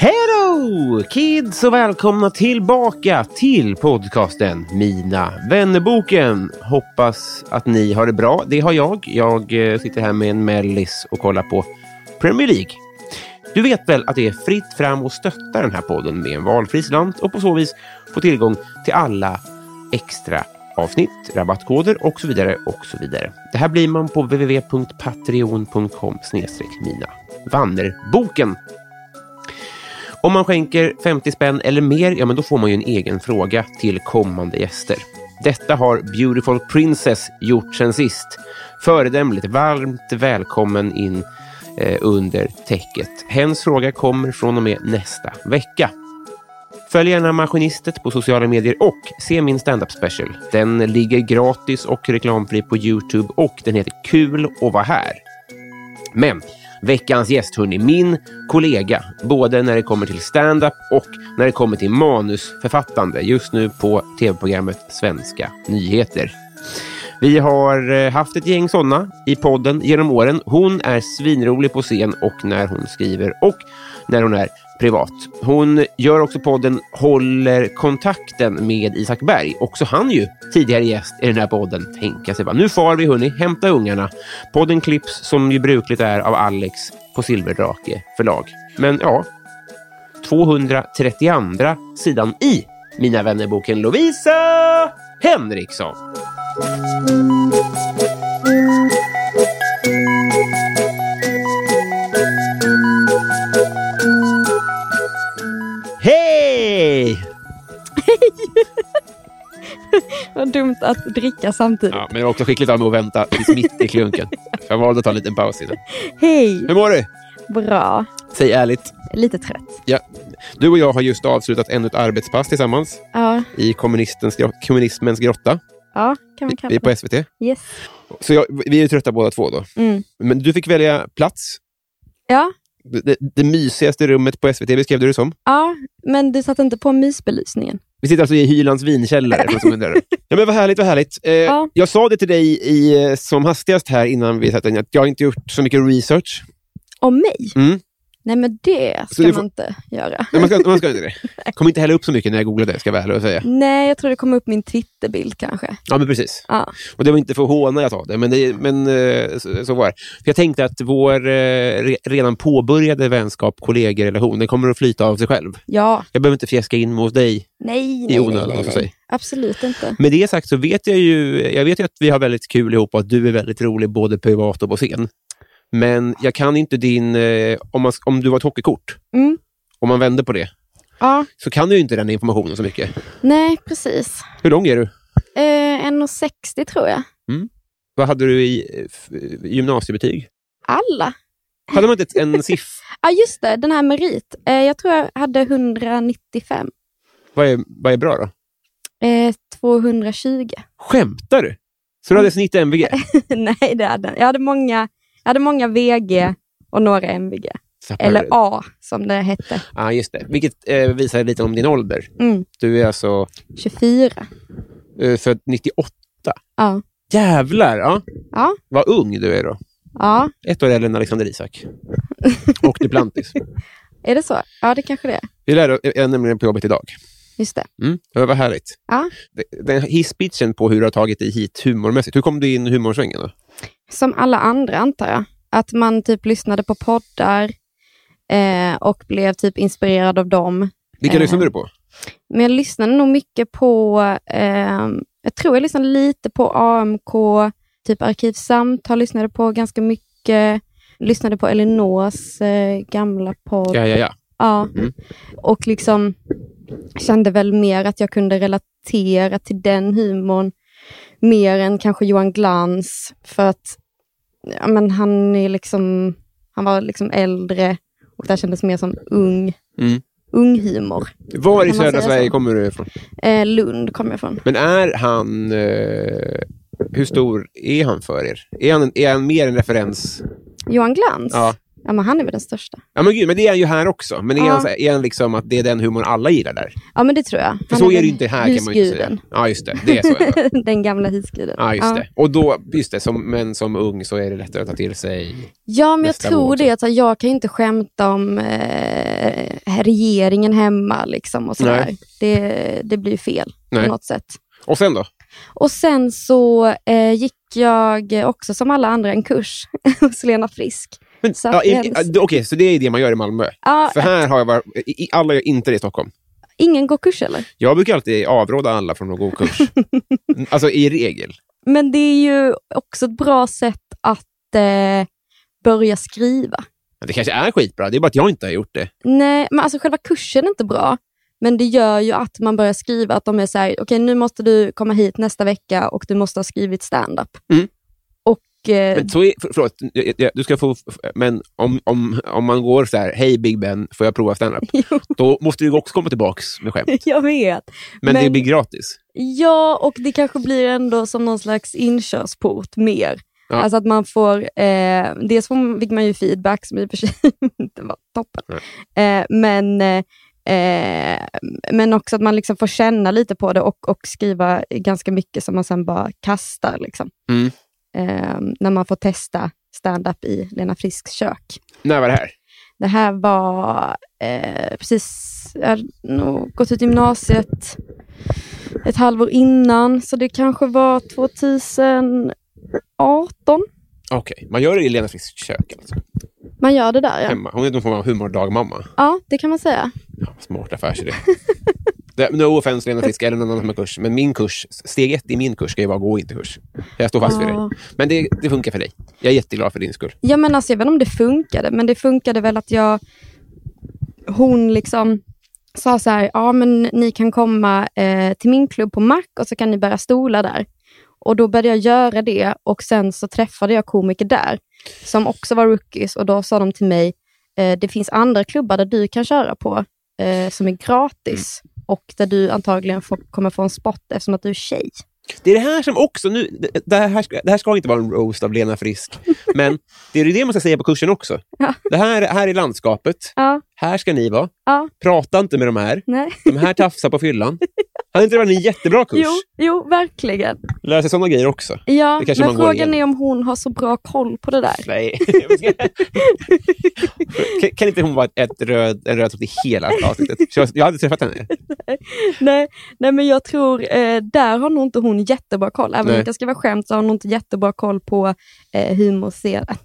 Hello kids och välkomna tillbaka till podcasten Mina vännerboken. Hoppas att ni har det bra. Det har jag. Jag eh, sitter här med en mellis och kollar på Premier League. Du vet väl att det är fritt fram att stötta den här podden med en valfri slant och på så vis få tillgång till alla extra avsnitt, rabattkoder och så vidare och så vidare. Det här blir man på www.patreon.com snedstreck mina vannerboken. Om man skänker 50 spänn eller mer, ja men då får man ju en egen fråga till kommande gäster. Detta har Beautiful Princess gjort sen sist. Föredömligt, varmt välkommen in eh, under täcket. Hens fråga kommer från och med nästa vecka. Följ gärna Maskinistet på sociala medier och se min stand-up special. Den ligger gratis och reklamfri på Youtube och den heter Kul att vara här. Men veckans gäst, hörni, min kollega, både när det kommer till stand-up och när det kommer till manusförfattande, just nu på tv-programmet Svenska nyheter. Vi har eh, haft ett gäng sådana i podden genom åren. Hon är svinrolig på scen och när hon skriver och när hon är privat. Hon gör också podden Håller kontakten med Isak Berg. Också han ju tidigare gäst i den här podden. Tänka sig bara, nu far vi hörni, hämta ungarna. Podden klipps som ju brukligt är av Alex på Silverdrake förlag. Men ja, 232 sidan i Mina vännerboken Lovisa Henriksson. Hej! Vad dumt att dricka samtidigt. Ja, men jag var också skickligt av mig att vänta tills mitt i klunken. Jag valde att ta en liten paus innan. Hej! Hur mår du? Bra. Säg ärligt. Lite trött. Ja. Du och jag har just avslutat ännu ett arbetspass tillsammans Ja, i kommunistens, gro- kommunismens grotta. ja kan Vi, man kalla vi är det. på SVT. Yes. Så jag, vi är ju trötta båda två då. Mm. Men du fick välja plats. Ja, Det, det, det mysigaste rummet på SVT beskrev du det som. ja, men du satte inte på mysbelysningen. Vi sitter alltså i Hylands vinkällare. för de som undrar. ja, men vad härligt, vad härligt. Eh, Ja. Jag sa det till dig i, eh, som hastigast här innan vi satte in, att jag har inte gjort så mycket research. Om mig? Mm. Nej, men det Så ska du man får- inte göra. Men Man ska, man ska inte det. kom inte heller upp så mycket när jag googlade, ska jag vara ärlig och säga. Nej, jag tror det kom upp min Twitterbild kanske. Ja, men precis. Ja. Och det var inte för att håna jag sa det, men, det, men eh, så, så var det. För jag tänkte att vår eh, re, redan påbörjade vänskap, kollegerelation, den kommer att flyta av sig själv. Ja, Jag behöver inte fjäska in mig hos dig nej, i nej, nej, onödan. alltså, nej, så att säga. nej. Absolut inte. Med det sagt så vet jag ju jag vet ju att vi har väldigt kul ihop och att du är väldigt rolig både privat och på scen. Men jag kan inte din... Eh, om, man, om du var ett hockeykort, Mm. om man vänder på det, Ja, så kan du ju inte den informationen så mycket. nej, precis. Hur lång är du? Eh, 1,60 tror jag. Vad hade du i eh, f- gymnasiebetyg? Alla. Hade man inte en siff? Ja, just det, den här merit. Eh, jag tror jag hade 195. Vad är, vad är bra då? Eh, 220. Skämtar du? Så du hade snitt MVG? Nej, det hade jag. Jag hade många, jag hade många VG och några MVG. Tappar Eller du? A, som det hette. Ja, ah, just det. Vilket eh, visar lite om din ålder. Mm, Du är alltså 24. eh, född 98. Ja. Jävlar! Ja. Ja. Vad ung du är då. ja, Ett år äldre än Alexander Isak. Och Duplantis. är det så? Ja, det kanske det är. Vi lärde jag är nämligen på jobbet idag. just det. Mm. Ja, vad härligt. Ja. Det- Den hisspitchen på hur du har tagit dig hit humormässigt. Hur kom du in i humorsvängen? Då? Som alla andra antar jag. Att man typ lyssnade på poddar eh, och blev typ inspirerad av dem. Vilka Eh. lyssnade du på? Men jag lyssnade nog mycket på, ehm, jag tror jag lyssnade lite på AMK, typ Arkivsamtal lyssnade på ganska mycket. Lyssnade på Elinors eh, gamla podd. Ja, ja, ja. Ja. Mm. Och liksom kände väl mer att jag kunde relatera till den humorn mer än kanske Johan Glans. För att ja, men han, är liksom, han var liksom äldre och det här kändes mer som ung, Mm. ung humor. Var i Kan man södra säga Sverige så? kommer du ifrån? Eh, Lund kom jag från. Men är han... Eh, hur stor är han för er? Är han, är han mer en referens? Johan Glans? Ja. Ja, men han är väl den största. Ja, men gud, men det är han ju här också. Men är, Ja. han, så här- är han liksom att det är den humorn alla gillar där? Ja, men det tror jag. För Han så är väl det ju inte här kan man ju inte säga. husguden. Ja, just det. Det är så. ja. den gamla husguden. Ja, just det. Och då, just det, som, men som ung så är det lättare att ta till sig. Ja, men jag nästa typ. tror vår det. Att så här, jag kan inte skämta om eh, regeringen hemma. Liksom, och så Nej. där. Det, det blir ju fel Nej. på något sätt. Och sen då? Och sen så eh, gick jag också som alla andra en kurs hos Lena Frisk. Men, Så att ja, i- det är i- hennes- Okej, så det är det man gör i Malmö. Ja, För här har jag varit, i- i- alla gör inte det i Stockholm. ingen går kurs eller? Jag brukar alltid avråda alla från att gå kurs. alltså i regel. Men det är ju också ett bra sätt att eh, börja skriva. Men Det kanske är skitbra, det är bara att jag inte har gjort det. Nej, men alltså själva kursen är inte bra. Men det gör ju att man börjar skriva, att de är så här, okej nu måste du komma hit nästa vecka och du måste ha skrivit stand-up. Mm. Och, eh, Men så är, för, förlåt, jag- jag- du ska få, men om, om, om man går så här, hej Big Ben, får jag prova standup? Jo. Då måste du också komma tillbaks med skämt. jag vet. Men, det Men- blir gratis. Ja, och det kanske blir ändå som någon slags inkörsport mer. Ja. Alltså att man får, eh, dels får- fick man ju feedback som i och för sig inte var toppen. Eh, men, eh, eh, men också att man liksom får känna lite på det och, och skriva ganska mycket som man sen bara kastar. Liksom. Mm. Eh, när man får testa stand-up i Lena Frisks kök. När var det här? Det här var eh, precis, jag hade nog gått ut gymnasiet ett halvår innan, så det kanske var 2018. Okej, man gör det i Lena Frisks kök alltså. Man gör det där ja. Hemma. Hon är någon form av humordagmamma. Ja, det kan man säga. Ja, smart affärsidé. Det- No offense Lena Frisk eller någon annan som har kurs, men min kurs, steg ett i min kurs ska ju vara att gå inte kurs. Jag står fast vid Ja. det. Men det, det funkar för dig. Jag är jätteglad för din skull. Ja, men alltså, jag vet inte om det funkade, men det funkade väl att jag... Hon liksom sa så här, ja men ni kan komma eh, till min klubb på Mac och så kan ni bära stolar där. Och då började jag göra det och sen så träffade jag komiker där som också var rookies och då sa de till mig, eh, det finns andra klubbar där du kan köra på eh, som är gratis och där du antagligen får, kommer få en spot eftersom att du är tjej. Det är det här som också nu... Det, det, här, ska, det här ska inte vara en roast av Lena Frisk, men det är ju det man ska säga på kursen också. Ja. Det här, här är landskapet. Ja, Här ska ni vara. ja, Prata inte med de här. nej. De här tafsar på fyllan. Hade inte det varit en jättebra kurs? Jo, jo, verkligen. Lära sig sådana grejer också. Ja, Det kanske men man går igenom. frågan är om hon har så bra koll på det där. Nej. kan, kan inte hon vara ett röd, en röd tråd i hela avsnittet? Jag, jag hade träffat henne. nej, nej, men jag tror, eh, där har nog inte hon jättebra koll. Även Nej. om jag ska vara skämt så har hon nog inte jättebra koll på eh, humorscenen. Äh,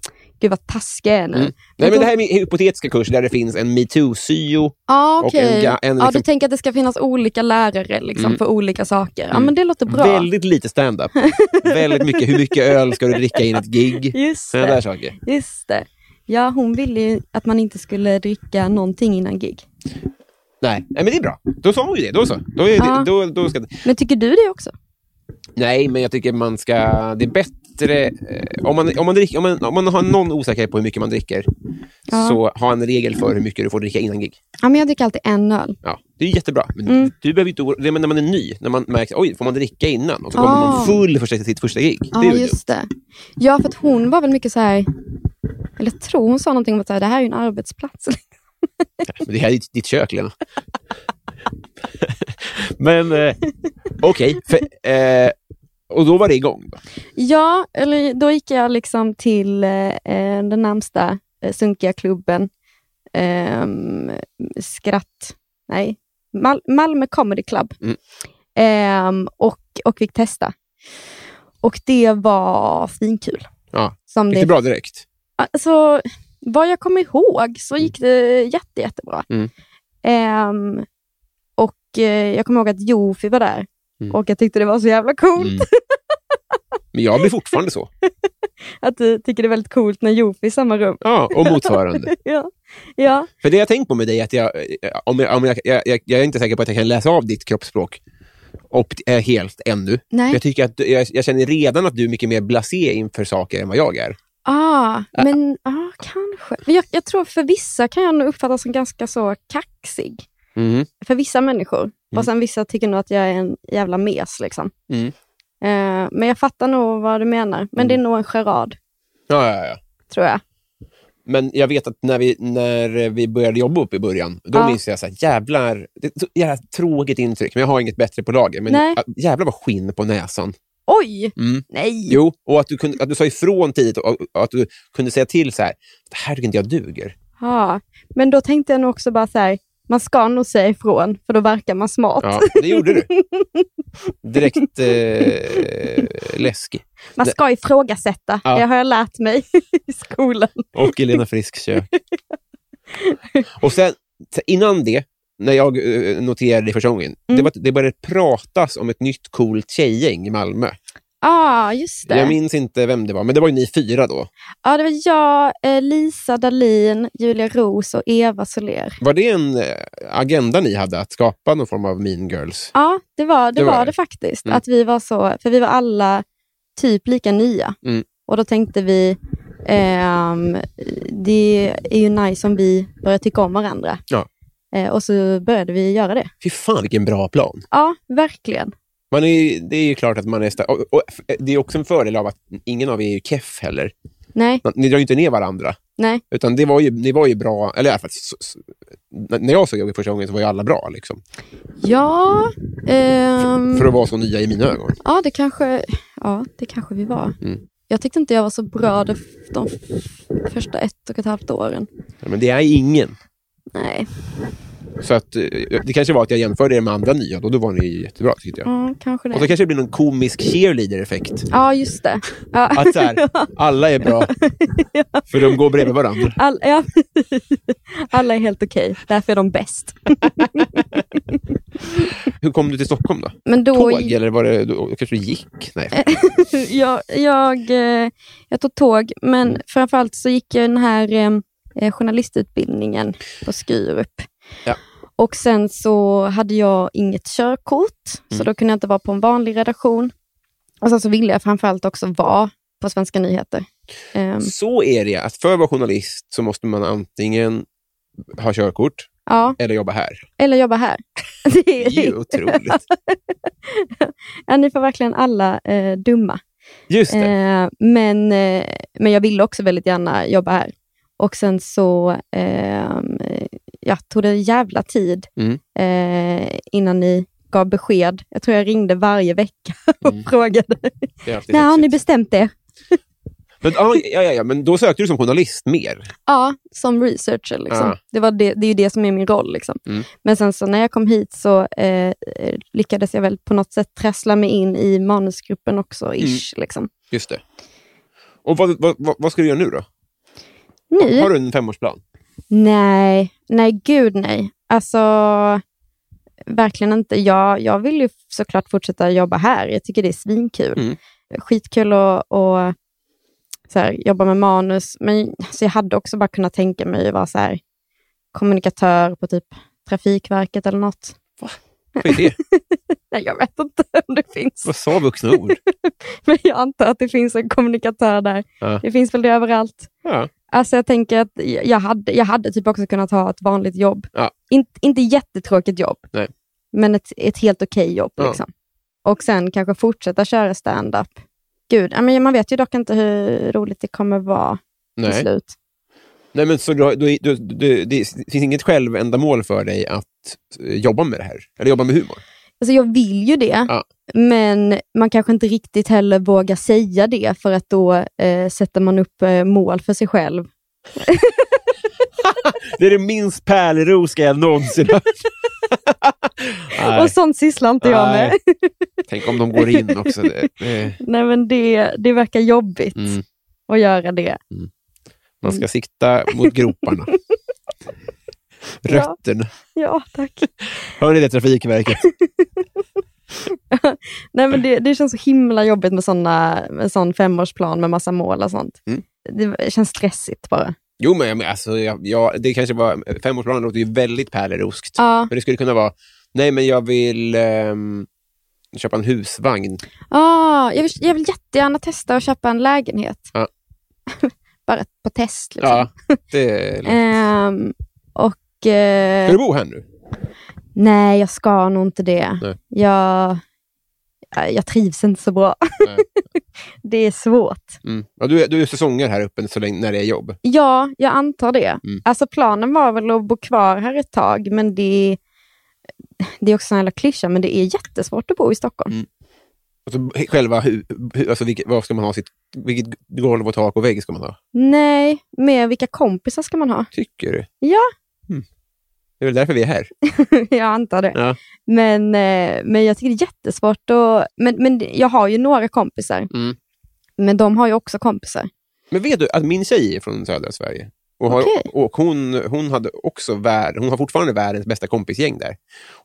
Gud vad taskig jag är nu. Mm. Nej, men det här är min hypotetiska kurs där det finns en metoo-syo. ah, och okej. en ga- en ja, liksom- du tänker att det ska finnas olika lärare liksom, Mm. för olika saker. Ja, Mm. men det låter bra. Väldigt lite stand-up. Väldigt mycket, hur mycket öl ska du dricka in ett gig? Just Sådana där det. saker. Just det. Ja, hon ville ju att man inte skulle dricka någonting innan gig. Nej. Nej, men det är bra. Då sa hon ju det. Då så. Då är Ja. det, då, då ska, Men tycker du det också? nej, men jag tycker man ska... Det är bättre... eh, Om man, om man, dricker, om man, om man har någon osäkerhet på hur mycket man dricker, Ja. så ha en regel för hur mycket du får dricka innan gig. Ja, men jag dricker alltid en öl. Ja, det är jättebra. Men Mm. du behöver inte oroa dig. Men när man är ny, när man märker oj, får man dricka innan? Och så kommer Ah. man full första, sitt första gig. Ja, det är ju dumt. just det. Ja, för att hon var väl mycket så här... Eller jag tror hon sa någonting om att så här, det här är ju en arbetsplats. Men det här är ditt, ditt kök, Lena. men eh, okej. för, eh, och då var det igång. Då. ja, eller då gick jag liksom till eh, eh, den närmsta eh, sunkiga klubben. Ehm, skratt... Nej, Mal- Malmö Comedy Club. Mm. Ehm, och, och fick testa. Och det var finkul. Ja. Som Gick det bra direkt? Alltså, vad jag kommer ihåg så gick det jätte, jättebra. Mm. Ehm, och eh, jag kommer ihåg att Jofi var där. Mm. Och jag tyckte det var så jävla coolt. Mm. Men jag blir fortfarande så. Att du tycker det är väldigt coolt när Jofi är i samma rum. Ja, och motsvarande. ja. ja. För det jag tänkt på med dig är att jag, eh, om jag, om jag, jag, jag, jag är inte säker på att jag kan läsa av ditt kroppsspråk och är helt ännu. Nej. Jag, tycker att, du- jag, jag känner redan att du är mycket mer blasé inför saker än vad jag är. Ah, men ah, kanske. Men jag, jag tror för vissa kan jag nog uppfattas som ganska så kaxig. För vissa människor. Och sen vissa tycker nog att jag är en jävla mes. Liksom. Mm. Eh, men jag fattar nog vad du menar. Men det är nog en charad, Ja, ja, ja. tror jag. Men jag vet att när vi, när vi började jobba upp i början, då Ja. minns jag så här, jävlar, det är så jävla tråkigt intryck, men jag har inget bättre på lager. Men Nej. ah, jävlar vad skinn på näsan. Oj! Mm. Nej! Jo, och att du, kunde, att du sa ifrån tidigt och, och att du kunde säga till så här, det här tycker inte jag duger. Ja, men då tänkte jag nog också bara så här, man ska nog säga ifrån, för då verkar man smart. Ja, det gjorde du. Direkt eh, läskig. Man det- ska ifrågasätta, Ja. det har jag lärt mig i skolan. Och Elena Frisks kök. Och sen, sen innan det, när jag eh, noterade det första gången, det, Mm. var, det började pratas om ett nytt coolt tjejgäng i Malmö. Ja, ah, just det. Jag minns inte vem det var, men det var ju ni fyra då. Ja, det var jag, eh, Lisa Dalin, Julia Ros och Eva Soler. Var det en eh, agenda ni hade, att skapa någon form av mean girls? Ja, det var det, Det var var det. det faktiskt. Mm. Att vi var så, för vi var alla typ lika nya. Mm. Och då tänkte vi, ehm, det är ju nice om vi börjar tycka om varandra. Ja. Eh, och så började vi göra det. Fy fan vilken bra plan. Ja, verkligen. Man är, det är ju klart att man är... sta- Och, och, f- det är också en fördel av att ingen av er är ju keff heller. Nej, Man- Ni drar ju inte ner varandra. nej. Utan det var ju, ni var ju bra, eller i alla fall, s- s- n- när jag såg er första gången så var ju alla bra. Liksom, Ja, ehm, För att vara så nya i mina ögon. ja, det kanske, ja, det kanske vi var. Mm. Jag tyckte inte jag var så bra de, de f- första ett och ett halvt åren. Ja, Men det är ingen. Nej, Så att, eh, det kanske var att jag jämförde er med andra nya, och då var ni ju jättebra tyckte jag. ja, kanske det. Och så kanske det blir någon komisk cheerleader-effekt. Ja, just det. Ja. Att så här, alla är bra, för de går bredvid varandra. All, ja. Alla är helt okej, därför är de bäst. Hur kom du till Stockholm då? Men då, Tåg, eller var det, då, kanske du gick? Nej. jag, jag, eh, jag tog tåg, Mm. men framförallt så gick jag den här eh, eh, journalistutbildningen på Skurup. Ja. Och sen så hade jag inget körkort, så Mm. då kunde jag inte vara på en vanlig redaktion. Och sen så ville jag framförallt också vara på Svenska nyheter. Ehm, Så är det, att för att vara journalist så måste man antingen ha körkort ja, eller jobba här. eller jobba här. Det är ju otroligt. ja, ni får verkligen alla eh, dumma. Just det. Eh, men, eh, men jag ville också väldigt gärna jobba här. Och sen så ehm, eh, ja, tog det en jävla tid Mm. eh, innan ni gav besked. Jag tror jag ringde varje vecka och Mm. frågade. det är alltid När har sexigt. ni bestämt det? Men, ah, ja, ja, ja, men då sökte du som journalist mer. Ja, som researcher. Liksom. Ah. Det, var det, det är ju det som är min roll. Liksom. Mm. Men sen så när jag kom hit så eh, eh, lyckades jag väl på något sätt trassla mig in i manusgruppen också. Mm. Ish, liksom. Just det. Och vad, vad, vad, vad ska du göra nu då? Nu Har du en femårsplan? Nej, nej gud nej. Alltså, verkligen inte. Jag, jag vill ju såklart fortsätta jobba här. Jag tycker det är svinkul. Mm. Skitkul att och, så här, jobba med manus. Men alltså, jag hade också bara kunnat tänka mig att vara så här, kommunikatör på typ Trafikverket eller något. Vad är det? Nej, jag vet inte om det finns. Vad sa vuxna ord? Men jag antar att det finns en kommunikatör där. Ja. Det finns väl det överallt. Ja. Alltså jag tänker att jag hade, jag hade typ också kunnat ha ett vanligt jobb. Ja. In, inte jättetråkigt jobb, Nej. men ett, ett helt okej jobb. Ja. Liksom. Och sen kanske fortsätta köra stand-up. Gud, ja, men man vet ju dock inte hur roligt det kommer vara till Nej. slut. Nej, men så du, har- du, du, du, det finns inget självändamål för dig att eh, jobba med det här? Eller jobba med humor? Alltså jag vill ju det, Ja. men man kanske inte riktigt heller vågar säga det, för att då eh, sätter man upp eh, mål för sig själv. Det är det minst pärleroska jag någonsin hört. Nej, Och sånt sysslar inte jag med. Nej. Tänk om de går in också. Det, det, Nej, men det, det verkar jobbigt mm. att göra det. Man ska sikta mot groparna. Rötterna. Ja, tack. Hör ni det, Trafikverket? Nej, men det, det känns så himla jobbigt med, såna, med sån femårsplan med massa mål och sånt. Mm. Det känns stressigt bara. Jo, men men alltså, jag, jag, det kanske var... Femårsplanen låter ju väldigt pärleroskt. Ja, Men det skulle kunna vara, nej men jag vill ehm, köpa en husvagn. ah, jag, vill, jag vill jättegärna testa att köpa en lägenhet. Ja. bara på test. Liksom. Ja, det låter- Ehm, och... eh, Ska du bo här nu? Nej, jag ska nog inte det. Nej. Jag, jag- jag trivs inte så bra. Nej. det är svårt. Mm. Ja, du, är- du är säsonger här uppe så länge, när det är jobb. Ja, jag antar det. Mm. Alltså planen var väl att bo kvar här ett tag, men det, det är också en jävla klyscha, men det är jättesvårt att bo i Stockholm. Alltså, själva hu, hu, alltså, vilket, vad ska man ha sitt, vilket golv och tak och vägg ska man ha? Nej, med vilka kompisar ska man ha? Tycker du? Ja. Mm. Det är väl därför vi är här. jag antar det. Ja. Men, eh, men jag tycker det är jättesvårt. Och, men, men jag har ju några kompisar, Mm. men de har ju också kompisar. Men vet du att min tjej är från södra Sverige? Och, har, Okej. och hon, hon, hade också värld, hon har fortfarande världens bästa kompisgäng där.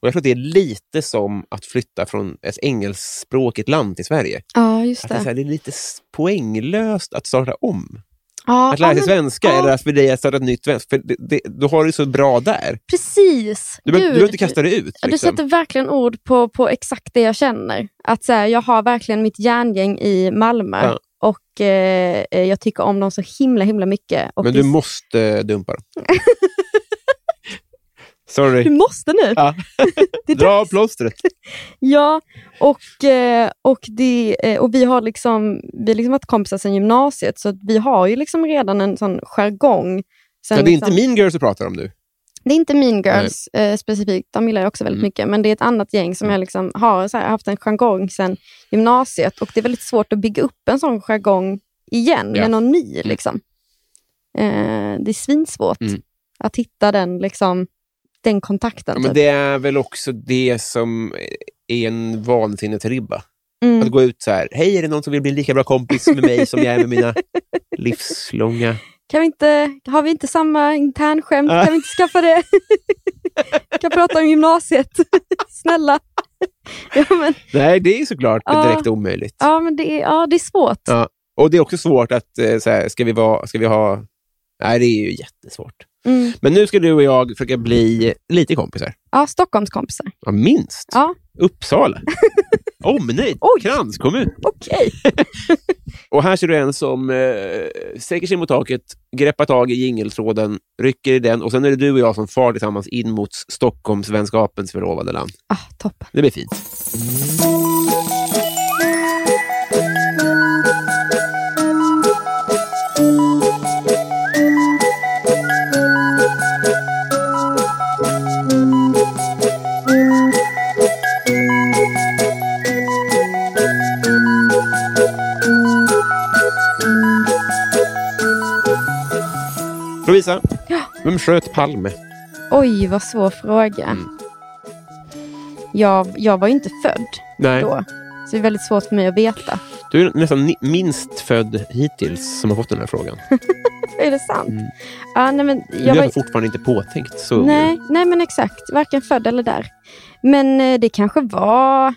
Och Jag tror att det är lite som att flytta från ett engelskspråkigt land till Sverige. Ja, just Att det, är så här, det är lite s- poänglöst att starta om. Ja, Att lära ja, sig men- svenska ja. eller att för dig att starta ett nytt svenska. För det, det, du har det så bra där. Precis. Du behöver du Gud, behöver inte kasta det ut. Ja, Du liksom. sätter verkligen ord på, på exakt det jag känner. Att så här, jag har verkligen mitt järngäng i Malmö Ja. och eh, eh, jag tycker om dem så himla himla mycket. Och Men du det- måste eh, dumpa dem. Sorry. du måste nu! Ja. Det är Dra av dags. plåstret. Ja, och, eh, och, det, eh, och vi har liksom, vi har liksom varit kompisar sedan gymnasiet så att vi har ju liksom redan en sån jargong. Sen Ja, det är inte liksom- min girl du pratar om nu. Det är inte Mean Girls eh, specifikt, de gillar jag också väldigt Mm. mycket, men det är ett annat gäng som jag liksom har så här, haft en jargong sedan gymnasiet och det är väldigt svårt att bygga upp en sån jargong igen Ja. med någon ny. Liksom. Eh, det är svinsvårt Mm. att hitta den, liksom, den kontakten. Ja, men typ. det är väl också det som är en vansinnesribba. Att mm. gå ut så här, hej är det någon som vill bli lika bra kompis med mig som jag är med mina livslånga... kan vi inte, har vi inte samma internskämt? Ja. Kan vi inte skaffa det? Vi kan prata om gymnasiet. Snälla. ja, men, Nej, det är såklart Ja. direkt omöjligt. ja, men det, är, ja, det är svårt. Ja. Och det är också svårt att, eh, så här, ska vi, vara, ska vi ha... Nej, det är ju jättesvårt. Mm. Men nu ska du och jag försöka bli lite kompisar. Ja, Stockholmskompisar. Ja, minst. Ja. Uppsala. Omnejd. Oj. Kranskommun. Okej. Och här ser du en som eh, sträcker sig mot taket, greppar tag i jingeltråden, rycker i den och sen är det du och jag som far tillsammans in mot Stockholmsvänskapens förlovade land. Ah, toppen. Det blir fint. Lovisa, Ja. vem sköt Palme? Oj, vad svår fråga. Mm. Jag, jag var ju inte född Nej. då, så det är väldigt svårt för mig att veta. Du är nästan ni- minst född hittills som har fått den här frågan. Är det sant? Mm. Ja, nej, men Du jag är var, fortfarande inte påtänkt så ung. nej, nej, men exakt. Varken född eller där. Men eh, det kanske var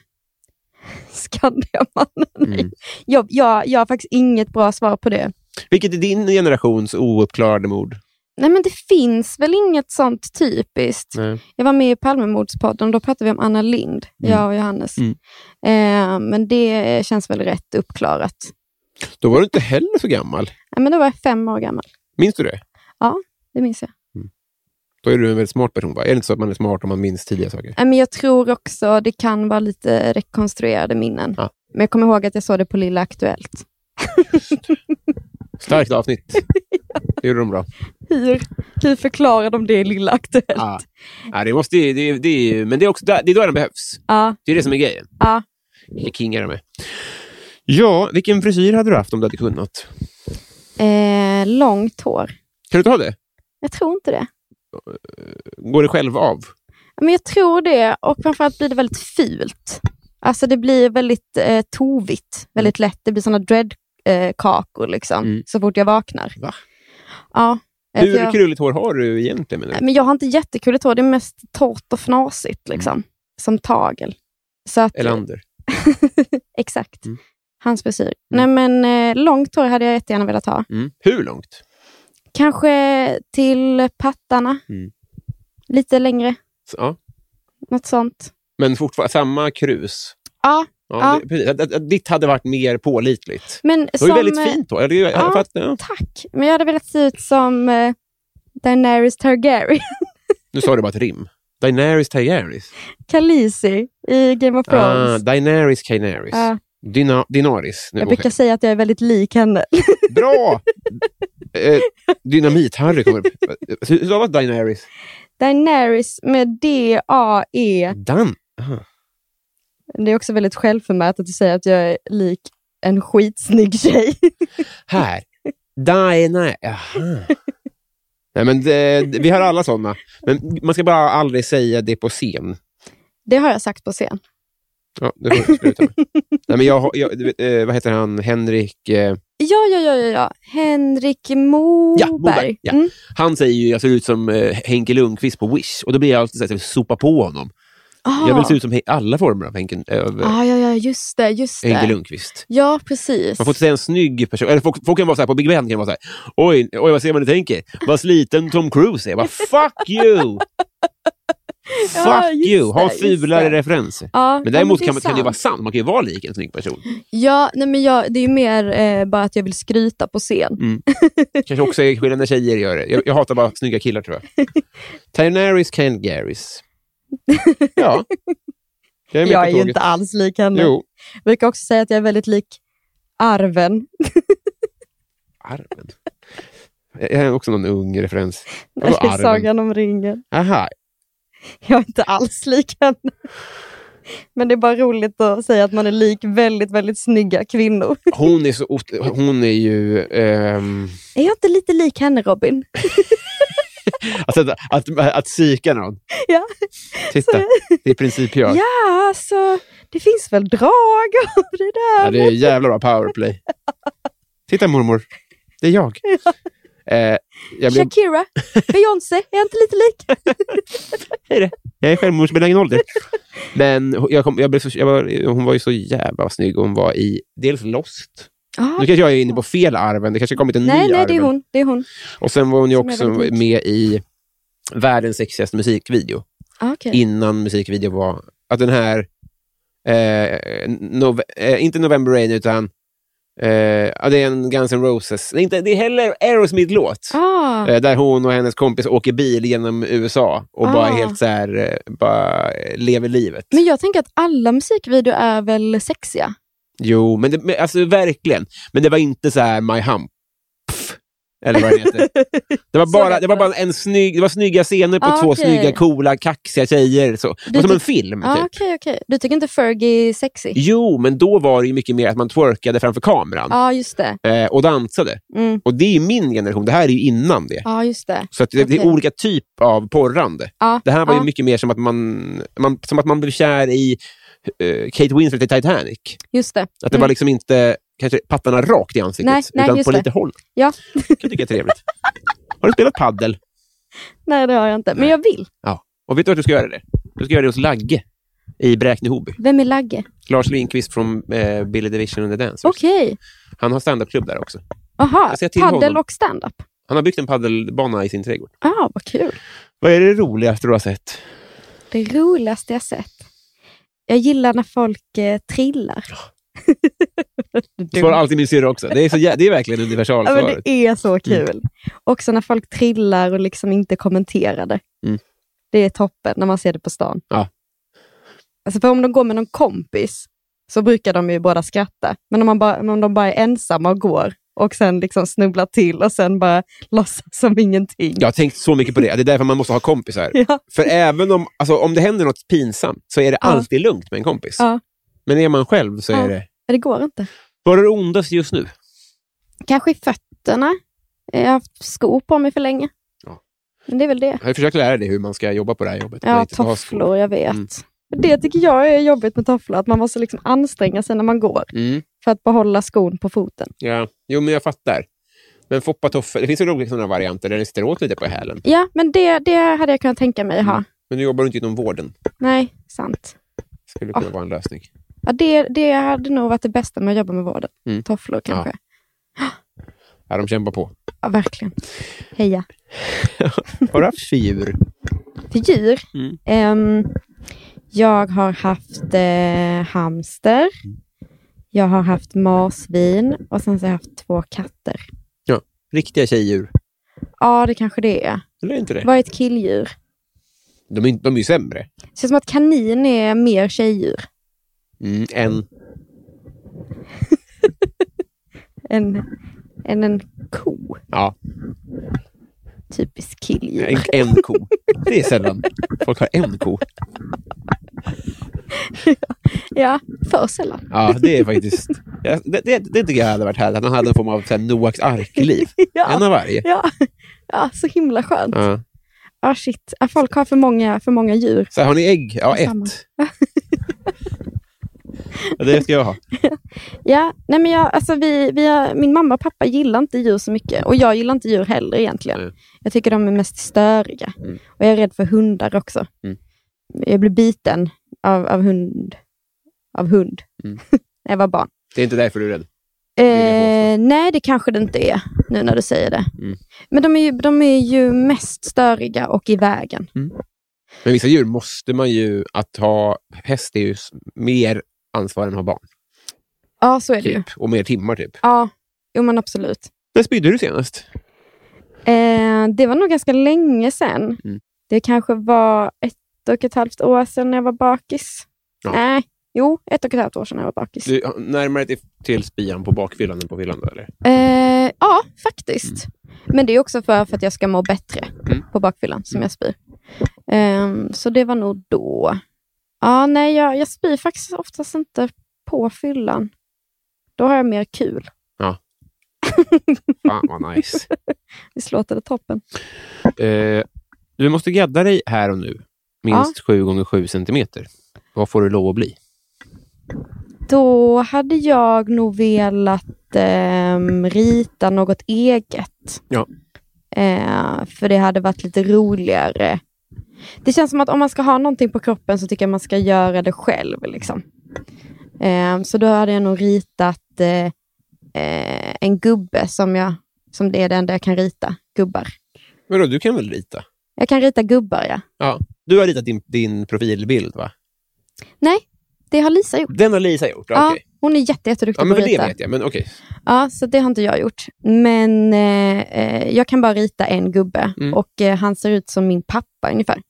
Skandiamannen. Nej. Mm. Jag, jag, jag har faktiskt inget bra svar på det. Vilket är din generations ouppklarade mord? Nej, men det finns väl inget sånt typiskt. Nej. Jag var med i Palmemordspodden och då pratade vi om Anna Lind, Mm. jag och Johannes. Mm. Eh, men det känns väl rätt uppklarat. Då var du inte heller så gammal. Ja, men då var jag fem år gammal, Minns du det? det minns jag. Då är du en väldigt smart person, va? Är det inte så att man är smart om man minns tidiga saker? Ja, men jag tror också det kan vara lite rekonstruerade minnen. Ja. Men jag kommer ihåg att jag såg det på Lilla Aktuellt. Starkt avsnitt. Det gjorde de bra. Hur, hur förklarar de det i Lilla Aktuellt? Ja. Ja, det måste, ju- det, det, är ju- men det är, också, där- det är då den behövs. Ja, Det är det som är grejen. ja. Jag kingar med. Ja, vilken frisyr hade du haft om du hade kunnat? Eh, långt hår. Kan du ta det? Jag tror inte det. Går det själv av? Men jag tror det och framförallt blir det väldigt fult. Alltså det blir väldigt eh, tovigt, väldigt lätt. Det blir såna dreadkakor eh, kakor liksom, Mm. så fort jag vaknar. Va? Ja. att Hur Alltså, jag, Alltså, krulligt hår har du egentligen? Menar Nej, du? men jag har inte jättekulligt hår, det är mest torrt och fnasigt Mm. liksom, som tagel. Så att, Elander? exakt. Mm. Hans frisyr. Nej, men eh, långt hår hade jag jättegärna velat ha. Mm. Hur långt? Kanske till pattarna. Mm. Lite längre, Så, ja. något sånt. Men fortfarande samma krus? Ja, Ja, Ja. det- Precis. Att- att- att Ditt hade varit mer pålitligt. men Det var som... ju väldigt eh, fint då. Jag, jag, jag ja. fattar, ja. Tack, men jag hade velat se ut som eh, Daenerys Targaryen, Nu sa du bara ett rim. Daenerys Targarys. Khaleesi i Game of Ah, Thrones. Daenerys Kaenerys. Ja. Dyna, Dinaris. Nu, jag okej. brukar säga att jag är väldigt lik henne. Bra! eh, Dynamit-Harry kommer upp. Hur stavas Daenerys? Daenerys med D-A-E. Dan. Det är också väldigt självförmätet att säga att jag är lik en skitsnygg tjej. Här. Daenerys. Jaha. Nej, men det, det- vi har alla sådana. Men man ska bara aldrig säga det på scen. Det har jag sagt på scen. Ja, det får du sluta med. Nej, men jag, har- jag, du vet, eh, vad heter han? Henrik... Eh, Ja, ja, ja, ja, ja. Henrik Moberg. Ja, Moberg, ja. Mm. han säger ju jag ser ut som eh, Henke Lundqvist på Wish. Och då blir jag alltid så här, så här, sopa på honom. Ah. Jag vill se ut som he- alla former av Henke, av, eh, ah, ja, ja, just det, just Henke det. Lundqvist. Ja, precis. Man får inte säga en snygg person. Eller folk, folk kan vara så här, på Big Ben kan vara så här, oj, oj vad ser man du tänker? Vad sliten Tom Cruise är. Vad fuck you! Ja, Fuck just you! Ha det, just fulare det. referenser. Ja, Men ja, däremot det kan, man, är kan det ju sant. vara sant. Man kan ju vara lik en snygg person. Ja, nej men jag, det är ju mer eh, bara att jag vill skryta på scen. Kanske också är skillnad när tjejer gör det. Jag, jag hatar bara snygga killar tror jag. Tynaris Kangaris. Ja. Jag med jag på är ju tåget. inte alls lik henne. Jo. Jag brukar också säga att jag är väldigt lik Arven. Arven. Jag jag har också någon ung referens. Vadå Arven? Sagan om ringen. Aha. Jag är inte alls lik henne. Men det är bara roligt att säga att man är lik väldigt, väldigt snygga kvinnor. Hon är, så, ot- hon är ju... ehm, Är jag inte lite lik henne, Robin? Alltså att, att, att psyka någon. Ja. Titta, det är i princip jag. Ja. Ja, alltså, det finns väl drag av det där. det är jävla bra powerplay. Titta mormor, det är jag. Eh, jag, blev, Shakira, Beyoncé, är jag inte lite lik? jag är självmordsbenägen ålder. Men hon- jag kom, jag blev så, jag var, hon var ju så jävla snygg. Hon var i dels Lost. Ah, Nu kanske jag är inne på fel arven. Det kanske har kommit en nej, ny nej, det är arven. hon. Det är hon. Och sen var hon ju Som är också väldigt lik. med i världens sexigaste musikvideo. Ah, okej. innan musikvideo var att den här, eh, nove, eh, inte November Rain, utan eh, ja, det är en Guns N' Roses, nej, inte, det är heller Aerosmith-låt. Ah, Eh, där hon och hennes kompis åker bil genom USA och bara Ah. helt så här, eh, bara eh, lever livet. men jag tänker att alla musikvideor är väl sexiga? Jo, men, det, men alltså verkligen. Men det var inte så här My Hump. Pff, Eller vad det heter. Det var Så bara, heter det var det. bara en snygg, det var snygga scener på Ah, två okej. snygga, coola, kaxiga tjejer. Så. Det Du var som tyck- en film. Ah, typ. Okej, okej. Du tycker inte Fergie är sexy? Ja, Jo, men då var det ju mycket mer att man twerkade framför kameran ah, just det. eh, och dansade. Mm. Och det är ju min generation, det här är ju innan det. Ja, just det. Så att det, det är Ah. Okej. olika typ av porrande. Ja, Det här var ja. ju mycket mer som att man, man, som att man blev kär i eh, Kate Winslet i Titanic. Just det. Att det var liksom inte kanske pattarna rakt i ansiktet, Mm. Nej, nej, utan just på det. lite håll. Ja. Det kan jag tycka är trevligt. Har du spelat paddel? Nej, det har jag inte. Men jag vill. Och vet du att du ska göra det? Du ska göra det hos Lagge i Bräkne-Hoby. Vem är Lagge? Lars Lindqvist från eh, Billy Division and the Dancers. Okej. Han har standupklubb där också. Aha. Jag ser till Paddel honom. och stand-up. Han har byggt en paddelbana i sin trädgård. Ah, vad kul. Vad är det roligaste du har sett? Det roligaste jag sett. Jag gillar när folk eh, trillar. Det svarar alltid min syrra också. Det är, så jä- det är verkligen Ja, men universalsvaret. det är så kul. Också när folk trillar och liksom inte kommenterar det. Mm. Det är toppen när man ser det på stan. Ja. Alltså för om de går med någon kompis så brukar de ju båda skratta. Men om, man bara, om de bara är ensamma och går och sen liksom snubblar till och sen bara låtsas som ingenting. Jag har tänkt så mycket på det. Det är därför man måste ha kompisar. Ja. För även om, alltså, om det händer något pinsamt så är det Ja. alltid lugnt med en kompis. Ja. Men är man själv så är Ja. det... Men det går inte. Vad är det ondaste just nu? Kanske i fötterna. Jag har haft skor på mig för länge. Ja. Men det är väl det. Jag har försökt lära dig hur man ska jobba på det här jobbet. Det är Ja, inte så att ha skor. tofflor, jag vet. Mm. Det tycker jag är jobbigt med tofflor, att man måste liksom anstränga sig när man går Mm, för att behålla skon på foten. ja. Jo, men jag fattar. Men foppa toffel. Det finns ju roliga sådana varianter där den sitter åt lite på hälen. Ja, men det, det hade jag kunnat tänka mig ha. Men nu jobbar du inte inom vården. Nej, sant. Skulle Ah. kunna vara en lösning. Ja, det, det hade nog varit det bästa med att jobba med vården. Mm. Tofflor kanske. Ja. Ja, de kämpar på. verkligen. Heja. Har du haft djur? För djur? Mm. Ehm, jag har haft eh, hamster. Jag har haft marsvin och sen så har jag haft två katter. Riktiga tjejdjur? Ja, det kanske det är. Eller inte det? Vad är ett killdjur? De är, de är ju sämre. Det känns som att kanin är mer tjejdjur Mm, än... än, än en ko. Ja, Typisk killdjur. en, en ko. Det är sällan. Folk har en ko. Ja, för sällan. Ja, det är faktiskt... Ja, det, det, det tycker jag hade varit härligt. Att man hade en form av så här, Noaks ark-liv. En Ja, av varje. ja, ja, så himla skönt. Ja, Ja. shit. Ja, folk har för många, för många djur. Så här, har ni ägg? Ja, Samma. ett. Ja, det ska jag ha. Ja, nej men jag, alltså vi, vi har, min mamma och pappa gillar inte djur så mycket. Och jag gillar inte djur heller egentligen. Nej. Jag tycker de är mest störiga. Mm. Och jag är rädd för hundar också. Mm. Jag blev biten av, av hund. Av hund. Mm. när jag var barn. Det är inte därför du är rädd. jag Eh, nej, det kanske det inte är, nu när du säger det. Mm. Men de är, ju, de är ju mest störiga och i vägen. Men vissa djur måste man ju... Att ha häst är ju s- mer ansvar än att ha barn. Ja, så är det ju. Typ. Och mer timmar, typ. Ja, jo men absolut. När spydde du senast? Eh, det var nog ganska länge sedan. Mm. Det kanske var ett och ett halvt år sedan när jag var bakis. Ja. Nej, jo, ett och ett halvt år sedan när jag var bakis. Du, närmare till, till spian på bakfyllan än på fyllan då, eller? Eh, ja, faktiskt. Men det är också för, för att jag ska må bättre på bakfyllan som jag spyr. Ehm, så det var nog då. Ja, nej, jag, jag spyr faktiskt oftast inte på fyllan. Då har jag mer kul. Fan vad nice. Visst låter det toppen? Eh, du måste gadda dig här och nu. Minst sju gånger sju centimeter. Vad får du lov att bli? Då hade jag nog velat ehm, rita något eget. Ja. Eh, för det hade varit lite roligare. Det känns som att om man ska ha någonting på kroppen så tycker jag man ska göra det själv. Liksom. Eh, så då hade jag nog ritat eh, eh, en gubbe som, jag, som det är det enda jag kan rita. Gubbar. Vadå, du kan väl rita? Jag kan rita gubbar, ja. Ja. Du har ritat din, din profilbild, va? Nej, det har Lisa gjort. Den har Lisa gjort? Ja, okej. hon är jätte, jätteduktig ja men på för att det rita. vet jag. Men okej. Ja, så det har inte jag gjort. Men eh, eh, jag kan bara rita en gubbe Mm. och eh, han ser ut som min pappa ungefär.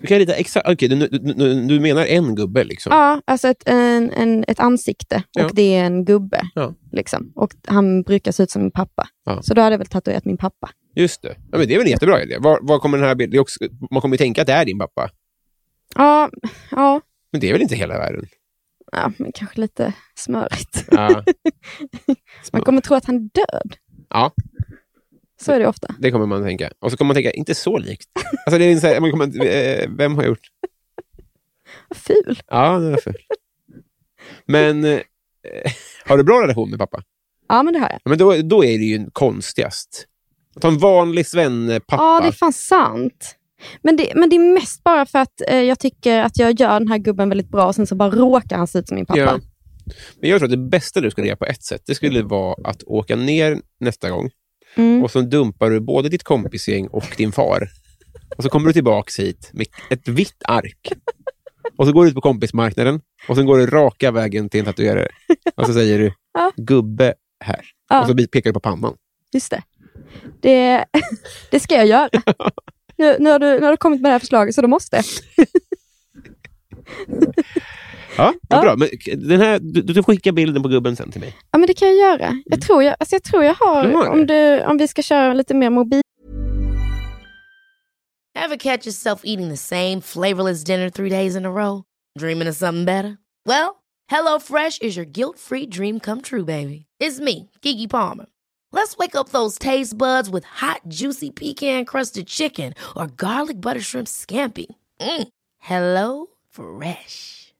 Du kan rita exakt... Okej, du, du, du, du menar en gubbe liksom? Ja, alltså ett, en, en, ett ansikte Ja. och det är en gubbe. Ja. Liksom. Och han brukar se ut som min pappa. Ja. Så då hade jag väl tatuerat min pappa. Just det. Ja, men det är väl en jättebra idé. Var, var kommer den här bilden... det är också- Man kommer ju tänka att det är din pappa. Ja, ja, Men det är väl inte hela världen? ja men kanske lite smörigt. Ja. Man kommer tro att han är död. Ja. Så är det ofta. Det kommer man att tänka. Och så kommer man tänka, inte så likt. Alltså, det är en så här, man kommer, att- eh, vem har gjort Vad ful. Ja, det var fult. Men eh, har du bra relation med pappa? Ja, men det har jag. Ja, Men då, då är det ju konstigast. Att ha en vanlig svennepappa. Ja, det är fan sant. Men det, men det är mest bara för att eh, jag tycker att jag gör den här gubben väldigt bra och sen så bara råkar han se ut som min pappa. Ja. Men jag tror att det bästa du skulle göra på ett sätt, det skulle vara att åka ner nästa gång Mm. och så dumpar du både ditt kompisgäng och din far. Och så kommer du tillbaks hit med ett vitt ark. Och så går du ut på kompismarknaden och sen går du raka vägen till en tatuerare. Och så säger du, Ja. gubbe här. Ja. Och så pekar du på pannan. Just det. Det, det ska jag göra. Nu, nu, har du, nu har du kommit med det här förslaget så då måste jag. Ja, Ja. ja. bra. Men den här, du, du får skicka bilden på gubben sen till mig. Ja, men det kan jag göra. Jag tror jag, alltså jag, tror jag har, Du har det. om, du, om vi ska köra lite mer mobil. Ever catch yourself eating the same flavorless dinner three days in a row? Dreaming of something better? Well, HelloFresh is your guilt free dream come true, baby. It's me, Kiki Palmer. Let's wake up those taste buds with hot, juicy pecan crusted chicken or garlic butter shrimp scampi. Mm. Hello Fresh.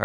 All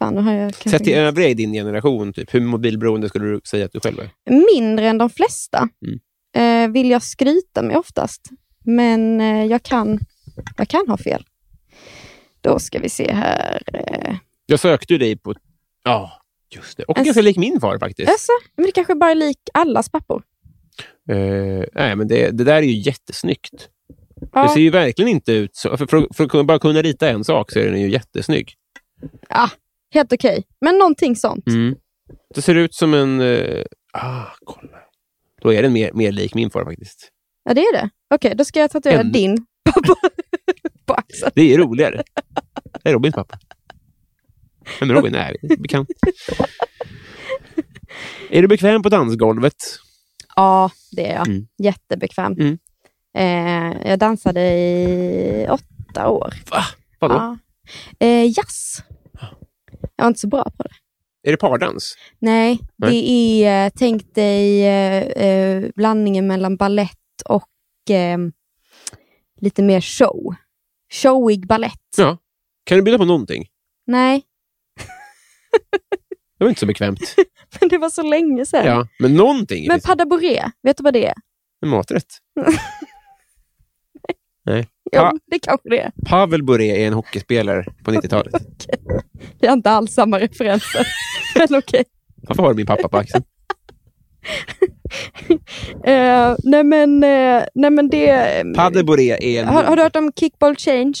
Fan, nu har jag kanske Sett till inte- övriga i din generation, typ, hur mobilberoende skulle du säga att du själv är? Mindre än de flesta Mm. eh, vill jag skryta med oftast. Men eh, jag, kan, jag kan ha fel. Då ska vi se här. Eh, Jag sökte ju dig på... Ja, just det. Och Alltså- ganska lik min far faktiskt. alltså, men det kanske bara är lik allas pappor. Eh, nej, men det, det där är ju jättesnyggt. Det Ja, ser ju verkligen inte ut så. För, för, för att kunna- bara kunna rita en sak så är den ju jättesnygg. helt okej. Men någonting sånt. Det ser ut som en... eh, ah, kolla. Då är den mer, mer lik min far faktiskt. Ja, det är det. Okej, då ska jag tatuera En- din pappa på axeln. Det är roligare. Det är Robins pappa. Men Robin är bekant. Är du bekväm på dansgolvet? Ja, det är jag. Mm. Jättebekväm. Mm. Eh, jag dansade i åtta år. Vadå? Ja. Eh, jazz. Jag var inte så bra på det. Är det pardans? Nej, Nej. det är, eh, tänk dig eh, eh, blandningen mellan ballett och eh, lite mer show. Showig ballett. Ja. Kan du bjuda på någonting? Nej, Det var inte så bekvämt. men det var så länge sedan. Ja, men någonting. Men finns det. pada bourrée, vet du vad det är? En maträtt. Jo, Pa- det kanske det är. Pavel Bure är en hockeyspelare på 90-talet. Vi har inte alls samma referenser. men okej. Varför har du min pappa på axeln? Eh, nej, men, eh, nej, men det... Pavel Bure är en... Har, har du hört om kickball change?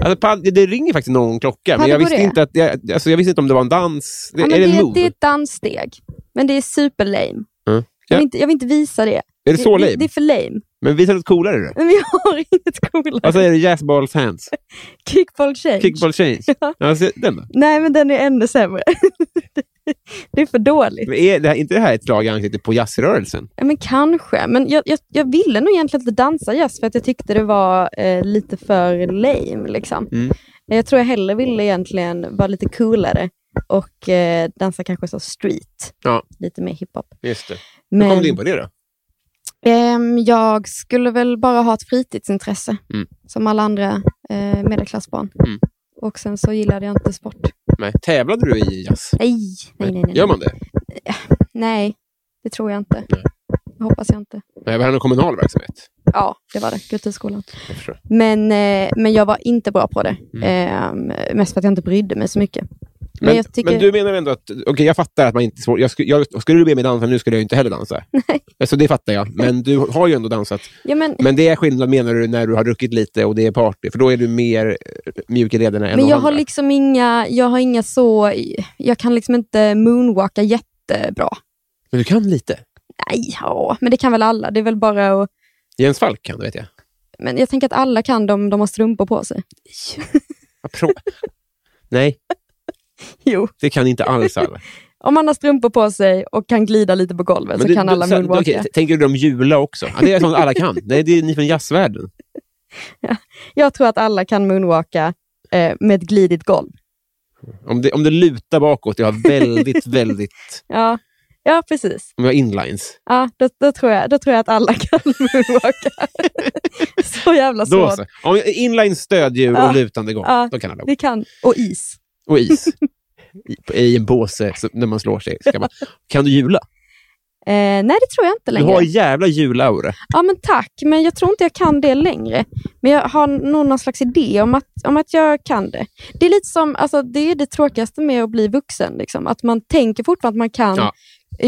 Alltså, pa- det- det ringer faktiskt någon klocka, men Pavel jag visste, Bure. inte att jag, alltså, jag visste inte om det var en dans. Det, Ja, men är det en det, move? det är ett danssteg, men det är super lame. Mm. Jag, Ja. vill inte, jag vill inte visa det. är det så Det, lame? det är för lame. Men visa något coolare då. Men vi har inget coolare. Vad säger du? Jazzballs hands? Kickball change. Kickball change? Ja, se, den då. Nej, men den är ännu sämre. det är för dåligt. Men är det här, inte det här ett slag i ansiktet på jazzrörelsen? Ja, men kanske, men jag, jag, jag ville nog egentligen inte dansa jazz för att jag tyckte det var eh, lite för lame. Liksom. Mm. Jag tror jag hellre ville egentligen vara lite coolare och eh, dansa kanske så street. Ja. Lite mer hiphop. Just det. Hur Men, kom du in på det då? Ehm, jag skulle väl bara ha ett fritidsintresse, Mm. som alla andra eh, medelklassbarn. Mm. Och sen så gillade jag inte sport. Nej. Tävlade du i jazz? Nej, nej, nej. Nej, Gör man det? nej det tror jag inte. Nej. Det hoppas jag inte. Nej, var det någon kommunal verksamhet? Ja, det var det. Kulturskolan. Jag förstår. Men, eh, men jag var inte bra på det. Mm. Ehm, mest för att jag inte brydde mig så mycket. Men, Men, men, jag tycker... du menar ändå att, okej jag fattar att man inte, jag, sku- jag, skulle du be mig dansa nu skulle jag ju inte heller dansa. Nej. Alltså det fattar jag, men du har ju ändå dansat. ja, men, Men det är skillnad menar du när du har druckit lite och det är party, för då är du mer eh, mjuk i lederna än men de jag andra. har liksom inga, jag har inga så... Jag kan liksom inte moonwalka jättebra. Men du kan lite. Nej, ja, men det kan väl alla. Det är väl bara att Jens Falk kan det vet jag. Men jag tänker att alla kan de, de har strumpor på sig. Vad pro- Nej, Jo. det kan inte alls alla. Om man har strumpor på sig och kan glida lite på golvet så du- kan du- alla så- moonwalka. okej, t- Tänker du om Jula också? Ja, det är sånt alla kan. Nej, det är ni från jazzvärlden. Jag tror att alla kan moonwalka eh, med ett glidigt golv. Om det, om det lutar bakåt, jag har väldigt, väldigt... Ja, ja precis. Om jag har inlines, Ja, då, då, tror jag, då tror jag att alla kan moonwalka. så jävla då svårt. så. Om jag- Inlines, stödhjul Alltså, Ja. och lutande gång, Ja. då kan alla gå. Vi kan. Och is. och is i, i en påse så, när man slår sig. Ska man, kan du jula? Eh, nej, det tror jag inte Du längre. har jävla julaura. Ja, men tack. Men jag tror inte jag kan det längre. Men jag har nog någon slags idé om att, om att jag kan det. Det är lite som, alltså, det är det tråkigaste med att bli vuxen. Liksom. Att man tänker fortfarande att man kan Ja.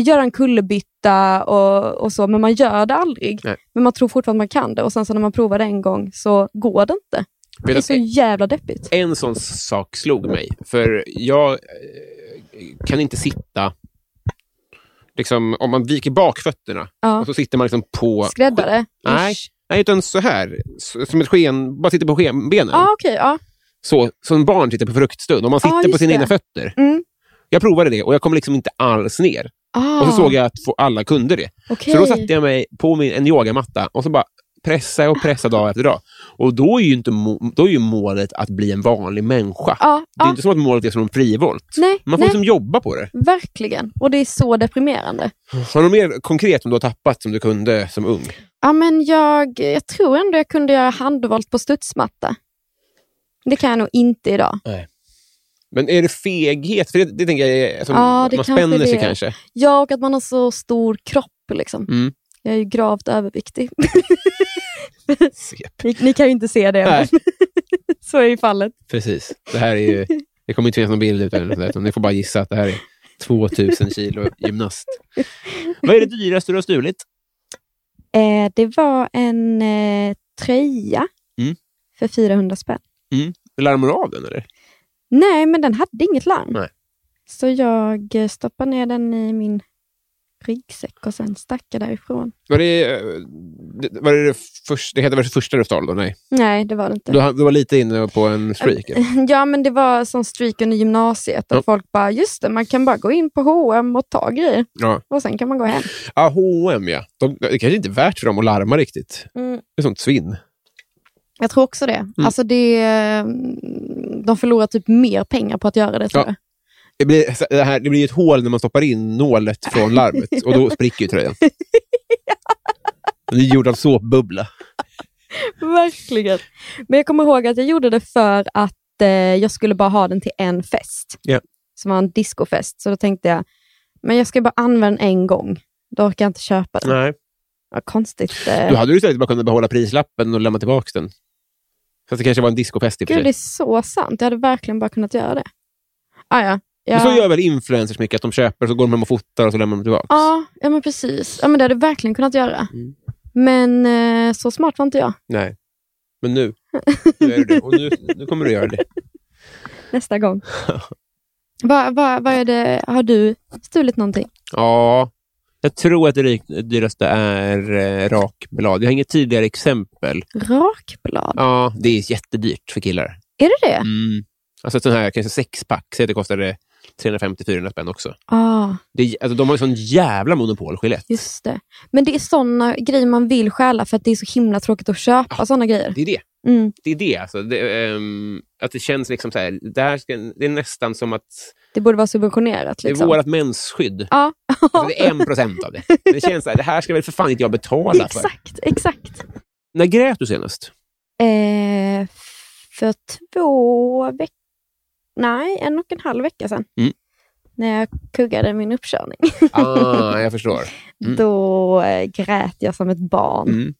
göra en kullerbytta och, och så, men man gör det aldrig. Nej. Men man tror fortfarande att man kan det och sen så när man provar det en gång så går det inte. Vet det är att- så jävla deppigt. En sån sak slog mig, för jag eh, kan inte sitta... Liksom, om man viker bak fötterna Ja. och så sitter man liksom på... Skräddare? Nej, Ish. nej, utan så här. S- Som ett sken, bara sitter på skenbenen. Ja, Ah, okej. ja. Så, som barn sitter på fruktstund. Om man Ja, sitter på just sina det. egna fötter. Mm. Jag provade det och jag kom liksom inte alls ner. Ah, Och så såg jag att få- alla kunde det. okej. Så då satte jag mig på min, en yogamatta och så bara pressade och pressade dag efter dag. Och då är ju, inte må, då är ju målet att bli en vanlig människa. Ja, Det är ja. inte som att målet är som en frivolt. Ah, Nej, Man får nej. liksom jobba på det. Verkligen. Och det är så deprimerande. Har du något mer konkret som du har tappat som du kunde som ung? Ja, men jag, jag tror ändå jag kunde göra handvolt på studsmatta. Det kan jag nog inte idag. Men är det feghet? För det, det tänker jag är, som, Ja, det man kanske spänner sig det. kanske. Jag och att man har så stor kropp. Liksom. Mm. Jag är ju gravt överviktig. Sep. Ni, ni kan ju inte se det, Nej. men så är ju fallet. Precis. Det här är ju... Det kommer inte finnas någon bild ut eller något sånt där, utan ni får bara gissa att det här är 2000 kilo gymnast. Vad är det dyraste du har stulit? Eh, det var en eh, tröja Mm. för 400 spänn. Larmar du av den eller? Nej, men den hade inget larm. Nej. Så jag eh, stoppade ner den i min ryggsäck och sen stack jag därifrån. Var det, eh, det- var det, det, först, det heter väl första du stal då? Nej. Nej, det var det inte. Du, ha- du var lite inne på en streak. eller? Ja, men det var sån streak under gymnasiet. Och Ja. Folk bara, just det, man kan bara gå in på H&M och ta grejer. Ja. Och sen kan man gå hem. Ah, H&M ja. De, det kanske inte är värt för dem att larma riktigt. Det är sånt svinn. Mm, Jag tror också det. Mm. Alltså det de förlorar typ mer pengar på att göra det, tror Ja. jag. Det blir, så- det, här, det blir ju ett hål när man stoppar in nålet från larmet och då spricker ju tröjan. Den är gjord av såpbubbla. Verkligen. Men jag kommer ihåg att jag gjorde det för att eh, jag skulle bara ha den till en fest. Ja. Som var en discofest. Så då tänkte jag, men jag ska bara använda den en gång. Då orkar jag inte köpa den. Nej. Vad konstigt. Eh. Du hade ju istället bara kunnat behålla prislappen och lämna tillbaka den. Fast det kanske var en discofest i och för Gud, det är sig. så sant. Jag hade verkligen bara kunnat göra det. Ah, ja. Men Jag... så gör väl influencers mycket, att de köper, så går de hem och fotar och så lämnar de tillbaka. Ja, ja men precis. Ja, men det hade jag verkligen kunnat göra. Mm. Men eh, så smart var inte jag. Nej. Men nu, nu är du det. Och nu, nu kommer du göra det. Nästa gång. Vad va, va är det? Har du stulit någonting? Ja, jag tror att det rik- dyraste är eh, rakblad. Jag har inget tydligare exempel. Rakblad? Ja, det är jättedyrt för killar. Är det det? Mm. Alltså ett sånt här kanske sexpack, säg att det kostade 350-400 spänn också. Ja, Det är, alltså, de har ju sån jävla monopol, Gillette. just det. Men det är såna grejer man vill stjäla för att det är så himla tråkigt att köpa såna grejer. Det är det. Mm. Det är det alltså. Det, ehm, att det känns liksom så här, det, här ska, det är nästan som att Det borde vara subventionerat. det är Liksom. vårt mensskydd. Ja. Alltså, det är en procent av det. Men det känns så här, det här ska väl för fan inte jag betala för. exakt, exakt. När grät du senast? Eh, för två veckor... Nej, en och en halv vecka sedan. Mm. När jag kuggade min uppkörning. Ah, jag förstår. Mm. Då eh, grät jag som ett barn. Mm.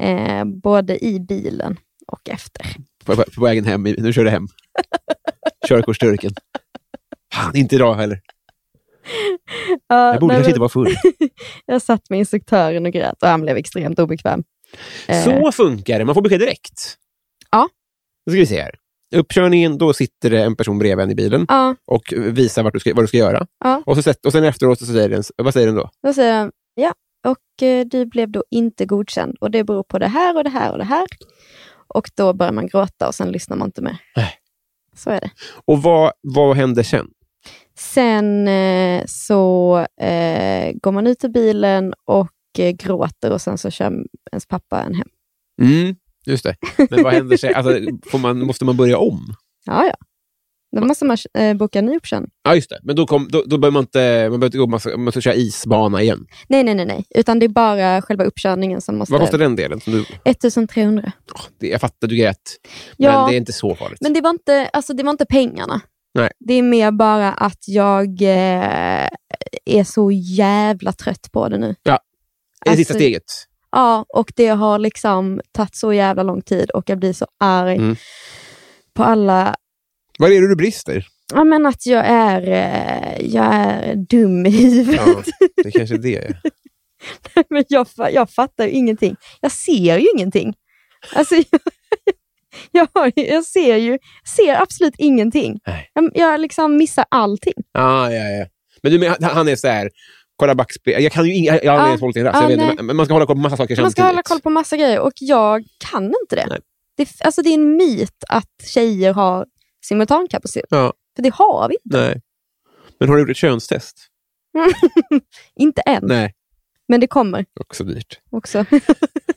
Eh, både i bilen och efter. På, på, på vägen hem. Nu kör du hem. Körkortsturken. Fan, inte idag heller. Ja, Jag borde nej, kanske men inte vara full. jag satt med instruktören och grät och han blev extremt obekväm. Eh, Så funkar det. Man får besked direkt. Ja. Då ska vi se här. Uppkörningen, då sitter det en person bredvid en i bilen Ja, och visar vart du ska, vad du ska göra. Ja. Och, så, sätt- och sen efteråt, så säger den, vad säger den då? då säger han ja, och eh, du blev då inte godkänd och det beror på det här och det här och det här. Och då börjar man gråta och sen lyssnar man inte mer. Nej. Så är det. Och vad, vad händer sen? Sen eh, så eh, går man ut ur bilen och eh, gråter och sen så kör ens pappa en hem. Mm, just det. Men vad händer sen? Alltså, får man, måste man börja om? Ja, ja. Då måste man eh, boka en ny uppkörning. Ja, just det. Men då, kom, då, då behöver man inte, man behöver inte gå, man ska, man ska köra isbana igen. Nej, nej, nej, nej. Utan det är bara själva uppkörningen som måste... Vad kostar den delen? Som du, 1300. det- jag fattar, du grät. Ja, Men det är inte så farligt. men det var inte, alltså, det var inte pengarna. Nej. Det är mer bara att jag eh, är så jävla trött på det nu. Det är sista Alltså- steget. Ja, och det har liksom tagit så jävla lång tid och jag blir så arg Mm. på alla. Vad är det du brister? Ja, men att jag är, eh, jag är dum i huvudet. Ja, det kanske är det. Men jag, fa- jag fattar ju ingenting. Jag ser ju ingenting. Alltså, jag, jag, har, ju- jag ser ju ser absolut ingenting. Nej. Jag, jag liksom missar allting. Ah, ja, ja. Men du menar, han- han är så här, kolla backspel. Jag kan ju inga, jag har Ah, aldrig ens hållit i en ratt, så ah, jag vet inte. nej. Men- Men man ska hålla koll på massa saker Man ska hålla samtidigt. koll på massa grejer och jag kan inte det. Nej. Det, är f- alltså, det är en myt att tjejer har simultankapacitet. Ja. För det har vi Nej. Men har du gjort ett könstest? inte än. Nej. typ Men det kommer Också dyrt. också.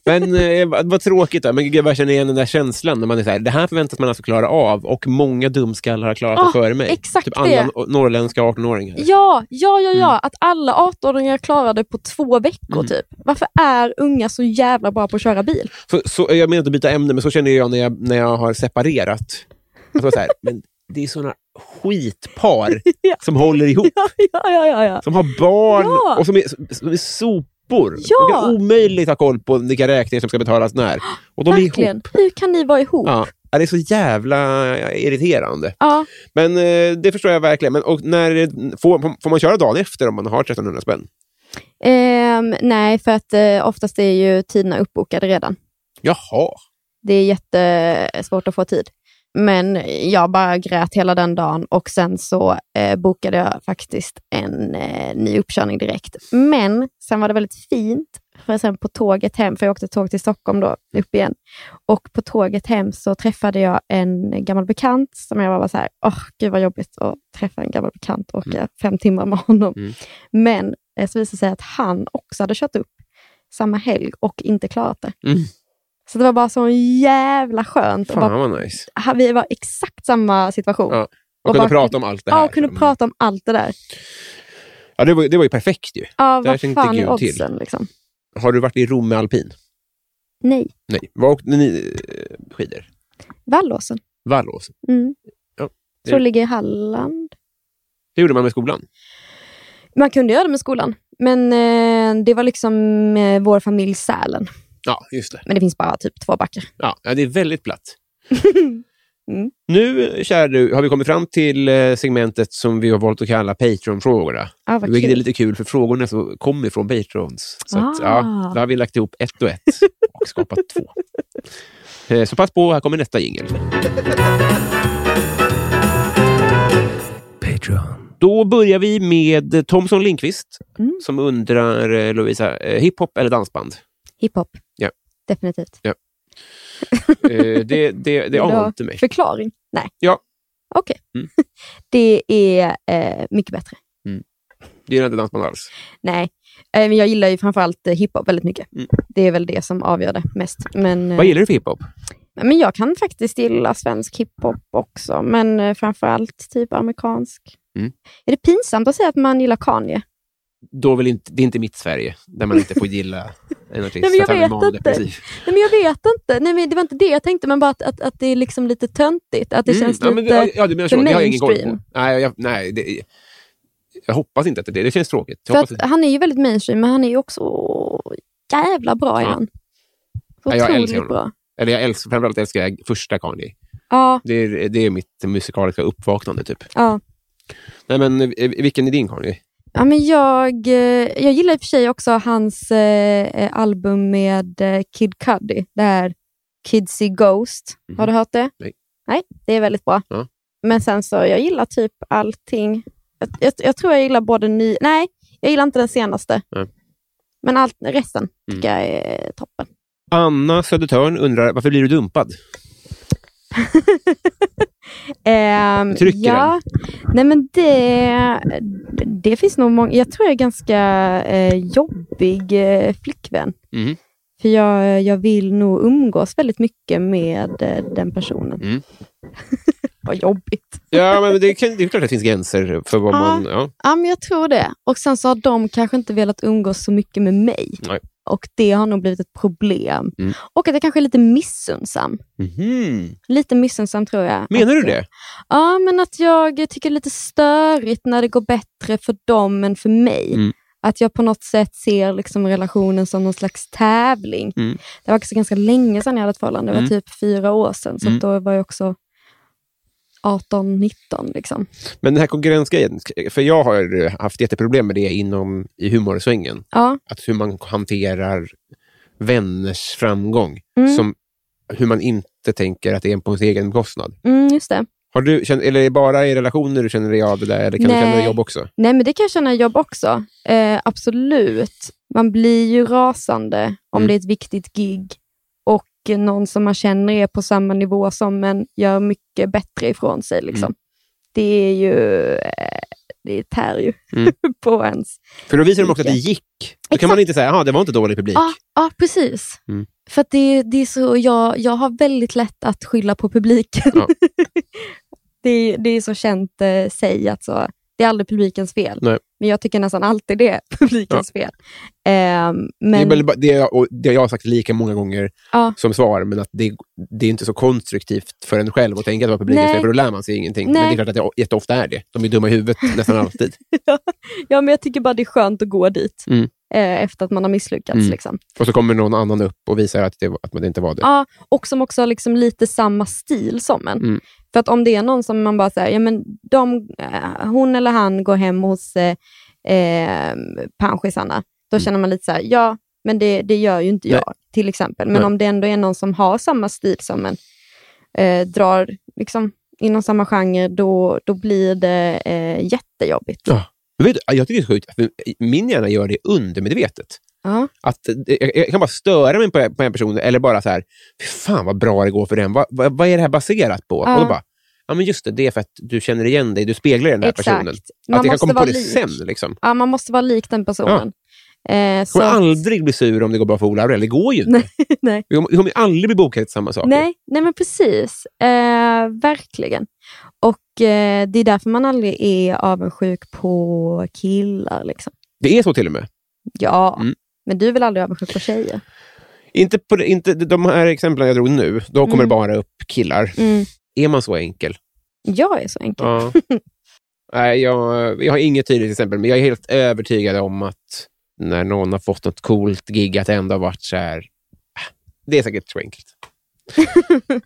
Men eh, vad vad tråkigt. Då. Men gud, jag bara känner igen den där känslan. När man är så här, det här förväntas man alltså klara av och många dumskallar har klarat det Ah, före mig. exakt typ alla Mm. det. no- norrländska 18-åringar. Ja, ja, ja, ja. Att alla 18-åringar klarar det på två veckor Mm. typ. Varför är unga så jävla bra på att köra bil? Så, så, jag menar inte att byta ämne, men så känner jag när jag, när jag har separerat. Att det var så här, men det är såna skitpar Ja. som håller ihop. Ja, ja, ja, ja, ja. Som har barn Ja. och som är, som är sopor. Ja. Det är omöjligt att ha koll på vilka räkningar som ska betalas när. Och de är Verkligen. ihop. Hur kan ni vara ihop? Ja. Ja, Det är så jävla irriterande. Ja. Men eh, det förstår jag verkligen. Men, och när, får, får man köra dagen efter om man har 1300 spänn? Ehm, nej, för att eh, oftast är ju tiderna uppbokade redan. Jaha. Det är jättesvårt att få tid. Men jag bara grät hela den dagen och sen så eh, bokade jag faktiskt en eh, ny uppkörning direkt. Men sen var det väldigt fint, för sen på tåget hem, för jag åkte tåg till Stockholm Mm. då, upp igen. Och på tåget hem så träffade jag en gammal bekant som jag bara var så här, åh gud vad jobbigt att träffa en gammal bekant och åka fem timmar med honom. Mm. Men eh, så visade det sig att han också hade kört upp samma helg och inte klarat det. Mm. Så det var bara så jävla skönt. att bara Fan vad nice. ha- vi var i exakt samma situation. Ja, Och, Och kunna bara- prata om allt det här. liksom. Ja, och kunde prata om allt det där. ja, det, var, ju- det var ju perfekt ju. Ja, Där vad tänkte fan Gud är till. oddsen? Liksom. Har du varit i Rom med alpin? Nej, Nej. Var åkte ni eh, skidor? Vallåsen. Vallås. Mm. Ja, det- Tror det ligger i Halland. Det gjorde man med skolan. Man kunde göra det med skolan, men eh, det var liksom eh, vår familj Sälen. Ja, just det. Men det finns bara typ två backar. Ja, ja, det är väldigt platt. Mm. Nu, kära du, har vi kommit fram till eh, segmentet som vi har valt att kalla Patreon-frågorna. Ja, vad Vilket är kul. lite kul, för frågorna så kommer från Patrons. Så att, Ah. ja, då har vi lagt ihop ett och ett och skapat två. Eh, Så pass på, här kommer nästa jingel. Patreon. Då börjar vi med Thomson Lindqvist Mm. som undrar, eh, Lovisa, eh, hiphop eller dansband? Hiphop. Ja. Definitivt. Eh, Det, det, det Vill du ha anar inte mig. Förklaring? Nej. Ja. Okej. Mm. Det är eh, mycket bättre. Det är inte dansband alls. Nej, Eh, men jag gillar ju framförallt eh, hiphop väldigt mycket. Mm. Det är väl det som avgör det mest. Men, eh, Vad gillar du för hiphop? men jag kan faktiskt gilla svensk hiphop också, men eh, framförallt typ amerikansk. Mm. Är det pinsamt att säga att man gillar Kanye? Då vill inte, det är inte mitt Sverige, där man inte får gilla en artist Nej, men jag för att han är vet manodepressiv. Nej, men jag vet inte. Nej, men det var inte det jag tänkte, men bara att, att, att det är liksom lite töntigt. Att det Mm, känns ja, men, lite... ja, ja, du menar så. för Det har jag ingen koll på. mainstream. Nej, jag, nej det, jag hoppas inte att det är det. Det känns tråkigt. Jag för hoppas att inte. han är ju väldigt mainstream, men han är ju också jävla bra i Ja. han. Ja, jag Otroligt älskar honom. bra. Eller jag älskar, framförallt älskar jag första Kanye. Ja, Det är, det är mitt musikaliska uppvaknande, typ. ja. Nej, men eh, vilken är din Kanye? Ja, men jag, eh, jag gillar i och för sig också hans eh, eh, album med eh, Kid Cudi. Det här Kidsy Ghost. Har du hört det? Mhm. Nej. Nej, det är väldigt bra. Ja. Men sen så, jag gillar typ allting. Jag, jag, jag tror jag gillar både ny... Nej, jag gillar inte den senaste. Nej. Mm. Men allt, resten tycker jag är toppen. Anna Södertörn undrar, varför blir du dumpad? Ehm, Trycker ja. Nej, men det, det finns nog många. Jag tror jag är ganska eh, jobbig eh, flickvän. Mm. För jag, jag vill nog umgås väldigt mycket med eh, den personen. Mm. Vad jobbigt. Ja, men det, kan, det är klart att det finns gränser för vad Ja. man... Ja. Ja, men jag tror det. Och sen så har de kanske inte velat umgås så mycket med mig. Nej. Och det har nog blivit ett problem. Mm. Och att jag kanske är lite missunnsam. Mhm. Lite missunnsam tror jag. Menar att, du det? Ja, men att jag tycker det är lite störigt när det går bättre för dem än för mig. Mm. Att jag på något sätt ser liksom relationen som någon slags tävling. Mm. Det var också ganska länge sedan jag hade ett förhållande. Det var Mm. typ fyra år sedan, så Mm. att då var jag också 18, 19. Liksom. Men den här konkurrensgrejen, för jag har eh, haft jätteproblem med det inom, i humorsvängen. Ja, Att hur man hanterar vänners framgång. Mm. Som, hur man inte tänker att det är på ens egen bekostnad. mm, just det. Har du, känn- eller är det bara i relationer du känner dig av det där? Eller kan du känna dig Nej. i jobb också? Nej, men det kan jag känna i jobb också. Eh, absolut. Man blir ju rasande om Mm. det är ett viktigt gig och någon som man känner är på samma nivå som en gör mycket bättre ifrån sig. Liksom. Mm. Det är ju... Eh, det tär ju Mm. på ens. För då visar de också att det gick. Då kan man inte säga att det var inte dålig publik. Ja, ja, precis. Mm. För att det, det är så, jag, jag har väldigt lätt att skylla på publiken. Ja. det, är- det är så känt eh, säg att så, det är aldrig publikens fel. Nej. Men jag tycker nästan alltid det är publikens fel. Ehm, Det, är men, väl bara- det, jag, och det jag har sagt lika många gånger Ja. som svar, men att det, det är inte så konstruktivt för en själv att tänka att det var publikens Nej. fel, för då lär man sig ingenting. Men Nej. det är klart att det jätteofta är det. De är dumma i huvudet nästan alltid. ja, men jag tycker bara det är skönt att gå dit Mm. eh, efter att man har misslyckats. Mm. Liksom. Och så kommer någon annan upp och visar att det, var- att det inte var det. Ja, och som också har liksom lite samma stil som en. Mm. För att om det är någon som man bara säger, ja men de, eh, hon eller han går hem hos eh, eh, panschisarna, då Mm. känner man lite så här, ja, men det, det gör ju inte jag, till exempel. Men Nej. om det ändå är någon som har samma stil som en, eh, drar liksom inom samma genre, då, då blir det eh, jättejobbigt. Ja. Men Vet, du, jag tycker det är så sjukt. för Min hjärna gör det undermedvetet. Ja. Att, eh, jag, jag kan bara störa mig på, en- på en person eller bara så här, "Fy fan vad bra det går för den. Vad, vad, vad är det här baserat på? Ja. Och då bara, ja men just det, det är för att du känner igen dig, du speglar den här personen. Exakt. Att jag kan måste komma på vara det lik. sen. Liksom. Ja, man måste vara lik den personen. Eh, Jag kommer så- aldrig bli sur om det går bra för Ola Aurell. Det går ju inte. Nej, nej. Vi kommer, vi kommer ju aldrig bli bokade till samma saker. Nej, nej men precis. Eh, verkligen. Och eh, det är därför man aldrig är avundsjuk på killar. Liksom. Det är så till och med. Ja, Mm. men du är väl aldrig avundsjuk på tjejer? Inte på, det- inte, de här exemplen jag drog nu, då kommer Mm. det bara upp killar. Mm. Är man så enkel? Jag är så enkel. Ja. Nej, jag, jag har inget tydligt exempel, men jag är helt övertygad om att när någon har fått något coolt gig, att det ändå har varit så här... "Ah, Det är säkert så enkelt.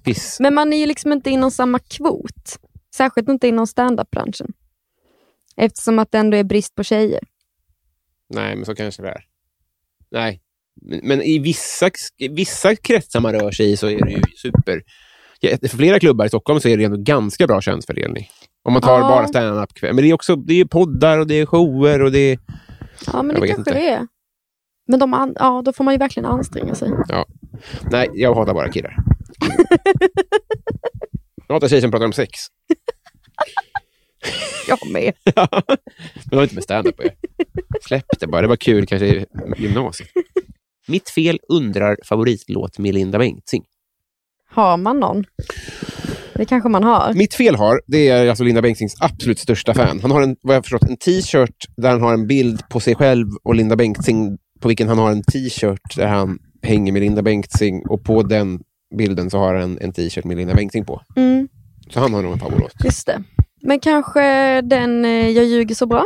Piss. Men man är ju liksom inte inom samma kvot. Särskilt inte inom standup-branschen. Eftersom att det ändå är brist på tjejer. Nej, men så kanske det är. Nej. Men, men i vissa, i vissa kretsar man rör sig i så är det ju super... Ja, För flera klubbar i Stockholm så är det ändå ganska bra könsfördelning. Om man tar Ja. bara stand-up kväll. Men det är också det är poddar och det är shower och det är... Ja, men Jag det vet kanske inte. det är. Men de an- ja, då får man ju verkligen anstränga sig. Nej, jag hatar bara killar. Jag hatar tjejer som pratar om sex. Jag med. Men det har inte med stand-up att göra. Släpp det bara. Det var kul kanske i gymnasiet. Mitt fel undrar favoritlåt med Linda Bengtzing. Har man någon? Det kanske man har. Mitt fel har, det är alltså Linda Bengtzings absolut största fan. Han har en, vad jag förstått, en t-shirt där han har en bild på sig själv och Linda Bengtzing på vilken han har en t-shirt där han hänger med Linda Bengtzing och på den bilden så har han en t-shirt med Linda Bengtzing på. Mm. Så han har nog en favoritlåt. Just det. Men kanske den eh, Jag ljuger så bra?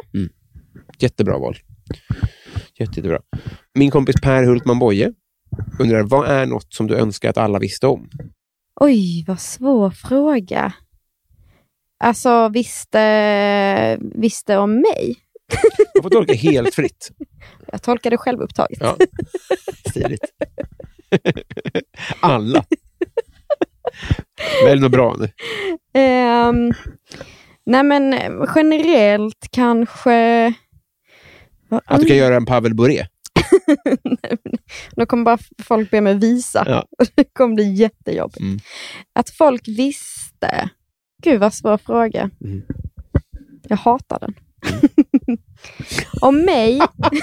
Jättebra val. Jätte, jättebra. Min kompis Per Hultman Boye undrar, vad är något som du önskar att alla visste om? Oj, vad svår fråga. Alltså, visste, visste om mig? Man får tolka helt fritt. Jag tolkar det självupptaget. Ja. Stiligt. alla. Välj något bra nu. Ehm, nej, men eh, generellt kanske... Vad Att du an- kan göra en Pavel Bure. Då kommer bara f- folk be mig visa. Ja. Och det kommer bli jättejobbigt. Mm. Att folk visste. Gud vad svår fråga. Mm. Jag hatar den. Om mig...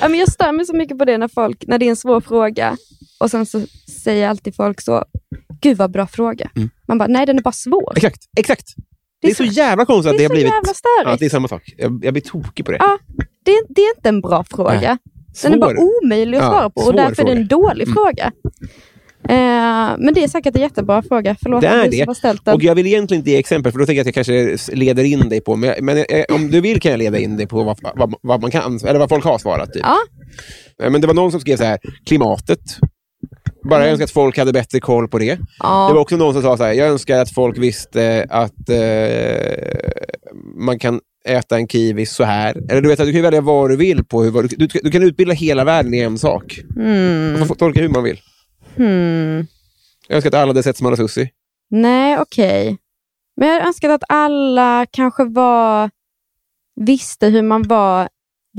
ja, men jag stör mig så mycket på det när, folk, när det är en svår fråga och sen så säger alltid folk så, gud vad bra fråga. Mm. Man bara, nej den är bara svår. Exakt. Exakt. Det är så jävla konstigt det att det har är så blivit... jävla Ja, störigt. det är samma sak. Jag, jag blir tokig på det. Ja. det, det är inte en bra fråga. Den är bara Svår. omöjlig att Ja, svara på och svår Mm. därför är det en dålig fråga. Eh, men det är säkert en jättebra fråga. Förlåt Det är att du det. som har ställt den. Och jag vill egentligen inte ge exempel, för då tänker jag att jag kanske s- leder in dig på... Men, jag- men eh, om du vill kan jag leda in dig på vad, vad, vad man kan, eller vad folk har svarat. Typ. Ja. Eh, Men det var någon som skrev så här, klimatet. Bara jag önskar att folk hade bättre koll på det. Det var Mm. Ja. också någon som sa så här, jag önskar att folk visste att eh, man kan äta en kiwi så här. Eller du vet, att du kan ju välja vad du vill. på hur, vad du, du, du kan utbilda hela världen i en sak. Mm. Man får tolka hur man vill. Hmm. Jag önskar att alla hade sett som alla sushi. Nej, okej. Men jag önskar att alla kanske var, visste hur man var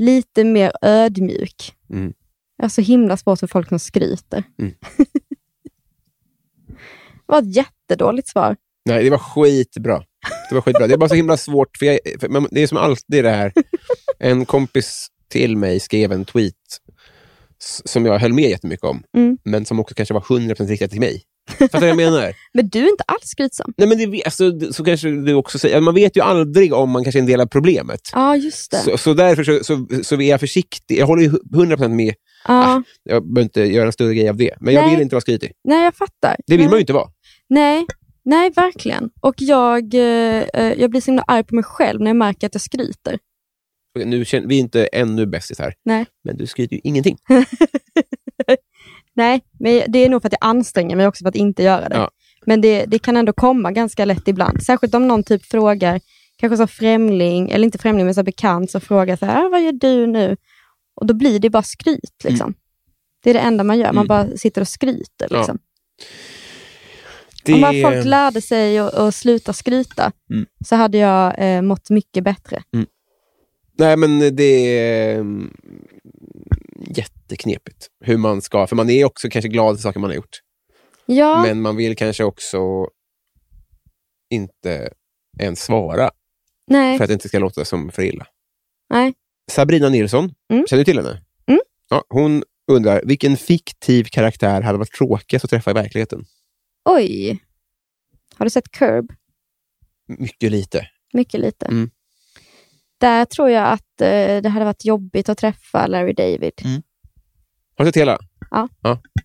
lite mer ödmjuk. Mm. Jag har så himla svårt för folk som skryter. Mm. det var ett jättedåligt svar. Nej, det var skitbra. Det var skitbra. Det är bara så himla svårt, för, jag, för man, det är som alltid det här. En kompis till mig skrev en tweet s- som jag höll med jättemycket om, Mm. men som också kanske var 100% riktad till mig. Fattar du vad jag menar? Men du är inte alls skrytsam. Nej, men det, vet- alltså, det- så kanske du också säger, alltså, man vet ju aldrig om man kanske är en del av problemet. Ja, just det. Så, så därför så, så, så är jag försiktig. Jag håller ju 100% med. Ja. Jag behöver inte göra en större grej av det. Men jag Nej. vill inte vara skrytig. Nej, jag fattar. Det vill Nej. man ju inte vara. Nej, nej verkligen. Och jag, eh, eh, jag blir så himla arg på mig själv när jag märker att jag skryter. Okej, Nu känner, vi är inte ännu bästis här. Nej. Men du skryter ju ingenting. Nej, men det är nog för att jag anstränger mig också för att inte göra det. Ja. Men det, det kan ändå komma ganska lätt ibland. Särskilt om någon typ frågar, kanske som främling, eller inte främling men som bekant, som frågar så här, "Ah, vad gör du nu? Och då blir det bara skryt. Mm. Liksom. Det är det enda man gör, man bara sitter och skryter. Ja. Liksom. Det... Om bara folk lärde sig att att sluta skryta, Mm. så hade jag eh, mått mycket bättre. Nej, men det är mm, jätteknepigt hur man ska... För man är också kanske glad för saker man har gjort. Ja, Men man vill kanske också inte ens svara nej. för att det inte ska låta som för illa. Nej. Sabrina Nilsson, Mm. känner du till henne? Mm. Ja, hon undrar, vilken fiktiv karaktär hade varit tråkigast att träffa i verkligheten? Oj. Har du sett Curb? Mycket lite. Mycket lite. Mm. Där tror jag att eh, det hade varit jobbigt att träffa Larry David. Har du sett hela? Ja.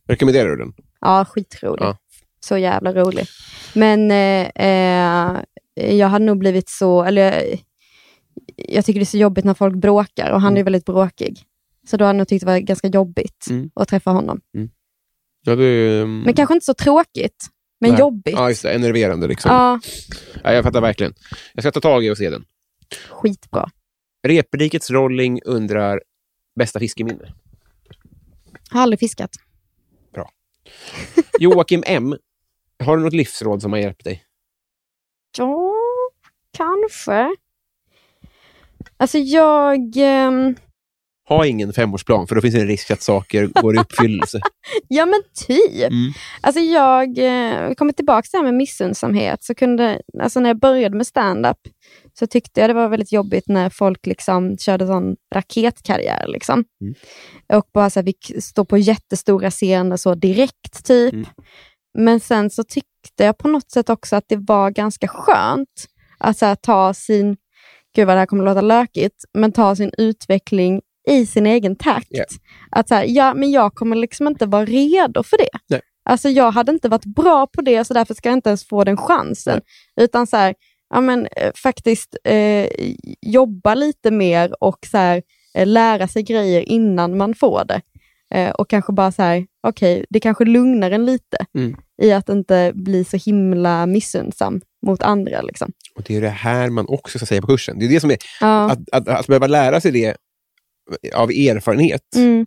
Rekommenderar du den? Ja, skitrolig. Ja. Så jävla rolig. Men eh, eh, jag hade nog blivit så... Eller, eh, jag tycker det är så jobbigt när folk bråkar och han är ju väldigt bråkig. Så då hade jag nog tyckt det var ganska jobbigt Mm. att träffa honom. Ja, det, mm, Men kanske inte så tråkigt, men Nej. jobbigt. ja, just det, enerverande liksom. Ja, Ja, jag fattar verkligen. Jag ska ta tag i och se den. skitbra. Reprikets Rolling undrar bästa fiskeminne. Har aldrig fiskat. Joakim M. Har du något livsråd som har hjälpt dig? Ja, kanske. Alltså jag... ehm, Ha ingen femårsplan, för då finns det en risk att saker går i uppfyllelse. ja men typ. Mm. Alltså jag eh, kommer tillbaka till det här med missunnsamhet. Så kunde, alltså när jag började med stand-up så tyckte jag det var väldigt jobbigt när folk liksom körde sån raketkarriär. Liksom. Mm. Och bara så här, fick stå på jättestora scener så direkt typ. Mm. Men sen så tyckte jag på något sätt också att det var ganska skönt att så här, ta sin, gud vad det här kommer låta lökigt, men ta sin utveckling i sin egen takt. Ja. Att så här, ja, men jag kommer liksom inte vara redo för det. Nej. Alltså jag hade inte varit bra på det, så därför ska jag inte ens få den chansen. Utan så här, ja, men, eh, faktiskt eh, jobba lite mer och så här, eh, lära sig grejer innan man får det. Eh, och kanske bara så här, okej, det kanske lugnar en lite Mm. i att inte bli så himla missunnsam mot andra. Liksom. Och Det är det här man också ska säga på kursen. Det är det som är, Ja. att, att, att behöva lära sig det av erfarenhet Mm,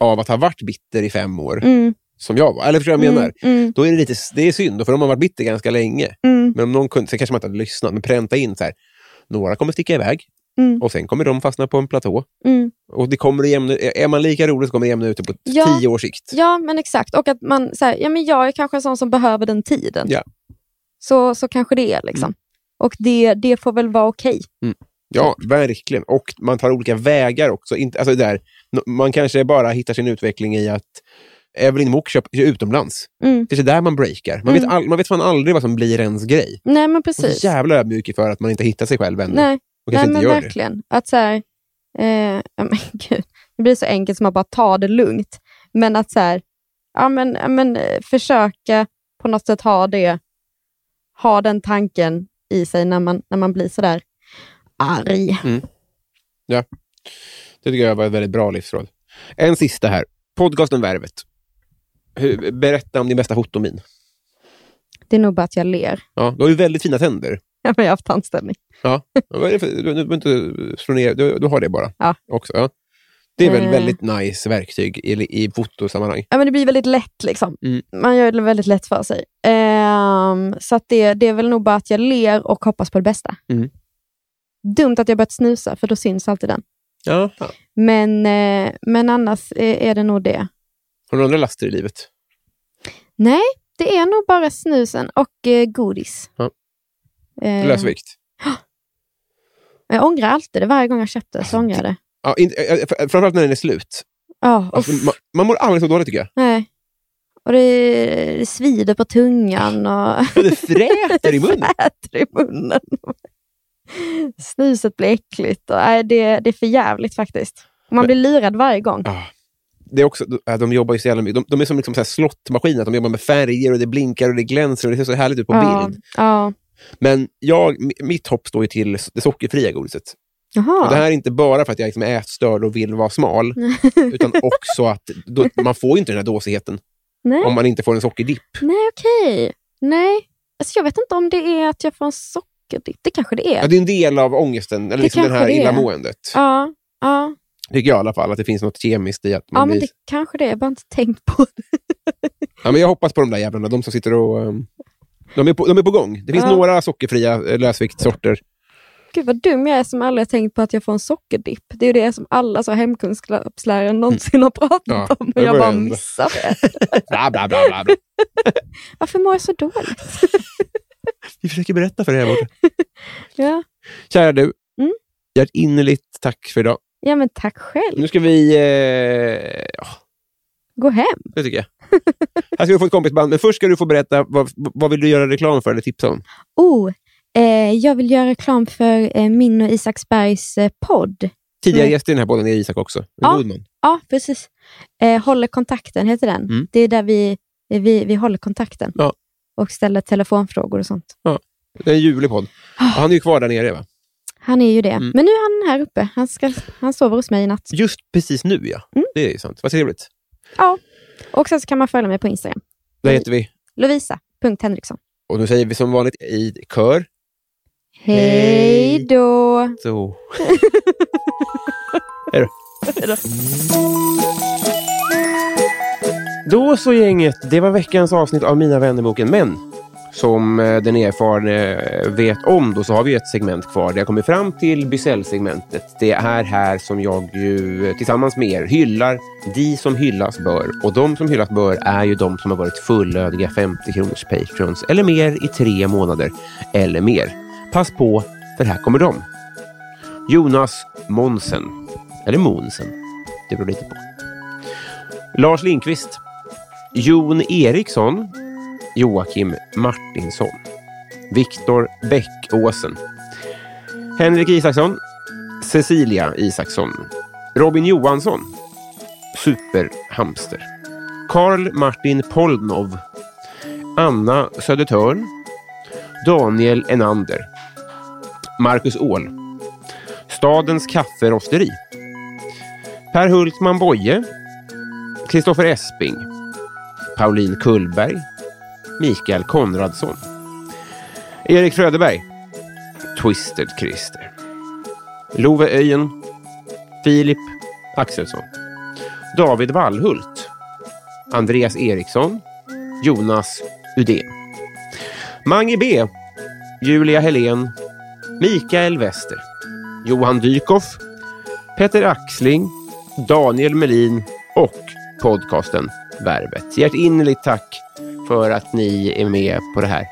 av att ha varit bitter i fem år, mm, som jag var. Eller förstår du vad jag mm, menar? mm, Då är det, lite, det är synd, för de har varit bitter ganska länge. mm, Men om någon kunde, sen kanske man inte hade lyssnat, men pränta in så här. Några kommer sticka iväg mm, och sen kommer de fastna på en platå. mm. Och det kommer att jämna, är man lika rolig så kommer det jämna ut det på Ja. tio års sikt. Ja, men exakt. Och att man så här, ja, men jag är kanske en sån som behöver den tiden. Ja. Mm. Så, så kanske det är. Liksom. Och det, det får väl vara okej. Ja, verkligen. Och man tar olika vägar också. Inte, alltså det där, no- man kanske bara hittar sin utveckling i att Evelyn Mok köper utomlands. Mm. Det är där man breakar. Man, vet Mm. all, man vet fan aldrig vad som blir ens grej. Nej, men Man är precis. så jävla ödmjuk för att man inte hittar sig själv ännu. Nej, och nej kanske men inte gör det. verkligen. Att så här, eh, ja, men gud. Det blir så enkelt som att bara ta det lugnt. Men att så här, ja, men, ja, men, eh, försöka på något sätt ha det, ha den tanken i sig när man, när man blir så där arg. Det tycker jag var ett väldigt bra livsråd. En sista här. Podcasten Värvet. Hur- Berätta om din bästa hotomin. Det är nog bara att jag ler. Ja, du har ju väldigt fina tänder. Ja, men Jag har haft tandställning. Vad är det för- Du, du, behöver inte slå ner, du, du har det bara. Ja. Också, ja. Det är väl Eh. väldigt nice verktyg i, i fotosammanhang. Ja, men det blir väldigt lätt. liksom. Mm. Man gör det väldigt lätt för sig. Ehm, så att det, det är väl nog bara att jag ler och hoppas på det bästa. Mm. Dumt att jag börjat snusa, för då syns alltid den. Ja. Men, eh, men annars eh, är det nog det. Har du några andra laster i livet? Nej, det är nog bara snusen och eh, godis. Ja. Eh, Lösvikt? jag ångrar alltid det. Varje gång jag köpte så ångrar jag det. Ja, in, ja, ja, fr- framförallt när den är slut. Ja, Alltså, uff, man, man mår aldrig så dåligt tycker jag. nej. Och det, det svider på tungan och Det fräter i munnen. äter i munnen. Snuset blir äckligt. Och, nej, det, det är för jävligt faktiskt. Och man Men- blir lurad varje gång. Ja. Det är också, äh, de jobbar ju så jävla mycket. De, de är som liksom så här slottmaskiner, att de jobbar med färger och det blinkar och det glänser och det ser så härligt ut på ja, bild. ja. Men jag, mi- mitt hopp står ju till s- det sockerfria godiset. Och det Jaha. här är inte bara för att jag liksom är ätstörd och vill vara smal, utan också att då, man får ju inte den här dåsigheten Nej. om man inte får en sockerdipp. Nej, okej. Nej. Alltså, jag vet inte om det är att jag får en sockerdipp. Det kanske det Ja, är. det är en del av ångesten, eller Det liksom den här kanske det är. illamåendet. Ja, ja. Tycker jag i alla fall, att det finns något kemiskt i att man ja blir... men det kanske det är. Jag har bara inte tänkt på det. Ja, men jag hoppas på de där jävlarna, de som sitter och... ehm, De är, på, de är på gång. Det finns Ja. några sockerfria eh, lösviktssorter. Gud vad dum jag är som aldrig har tänkt på att jag får en sockerdipp. Det är ju det som alla så hemkunskapslärare någonsin har pratat Ja, om. det Och jag var bara en- missar det. Bla, bla, bla, bla, bla. Varför mår jag så dåligt? Vi försöker berätta för dig här borta. Ja, Kära du, Mm. hjärt innerligt tack för idag. ja men tack själv. Nu ska vi... Eh, ja, Gå hem. det tycker jag. Här ska du få ett kompisband, men först ska du få berätta vad, vad vill du göra reklam för eller tipsa om? Oh, eh, jag vill göra reklam för eh, min och Isaksbergs eh, podd. Tidigare Mm. gäster i den här podden är Isak också. En Ja. god man. Ja, precis. Eh, håller kontakten heter den. Mm. Det är där vi, vi, vi håller kontakten Ja. och ställer telefonfrågor och sånt. Det är en ljuvlig podd. Och han är ju kvar där nere, va? Han är ju det. Mm. Men nu är han här uppe. Han, ska, han sover hos mig i natt. Just precis nu, ja. Mm. Det är ju sant. Vad trevligt. Och sen så kan man följa mig på Instagram. Där heter vi. Lovisa.Henriksson. Och nu säger vi som vanligt i kör. Hej då! Så. Då så gänget, det var veckans avsnitt av Mina vännerboken. Men som eh, den erfarne eh, vet om då så har vi ett segment kvar. Det har kommit fram till Bysell-segmentet. Det är här som jag ju eh, tillsammans med er hyllar de som hyllas bör. Och de som hyllas bör är ju de som har varit fullödiga 50 kronors patrons eller mer i tre månader eller mer. Pass på, för här kommer de. Jonas Monsen, eller Monsen, det beror lite på. Lars Lindqvist. Jon Eriksson. Joakim Martinsson. Viktor Bäckåsen. Henrik Isaksson. Cecilia Isaksson. Robin Johansson. Superhamster. Karl Martin Polnov. Anna Södertörn. Daniel Enander. Marcus Åhl. Stadens kafferosteri. Per Hultman Boye. Kristoffer Esping, Pauline Kullberg, Mikael Konradsson, Erik Fröderberg, Twisted Christer, Love Öjen, Filip Axelsson, David Wallhult, Andreas Eriksson, Jonas Udén, Mange B, Julia Helén, Mikael Wester, Johan Dykhoff, Peter Axling, Daniel Melin och podcasten Värvet. Hjärtinnerligt tack för att ni är med på det här.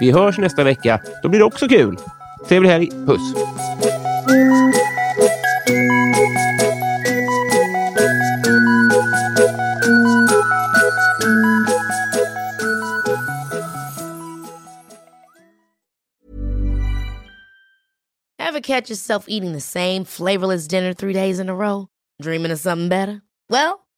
Vi hörs nästa vecka. Då blir det också kul. Trevlig helg. Puss! Ever catch yourself eating the same flavorless dinner three days in a row? Dreaming of something better? Well,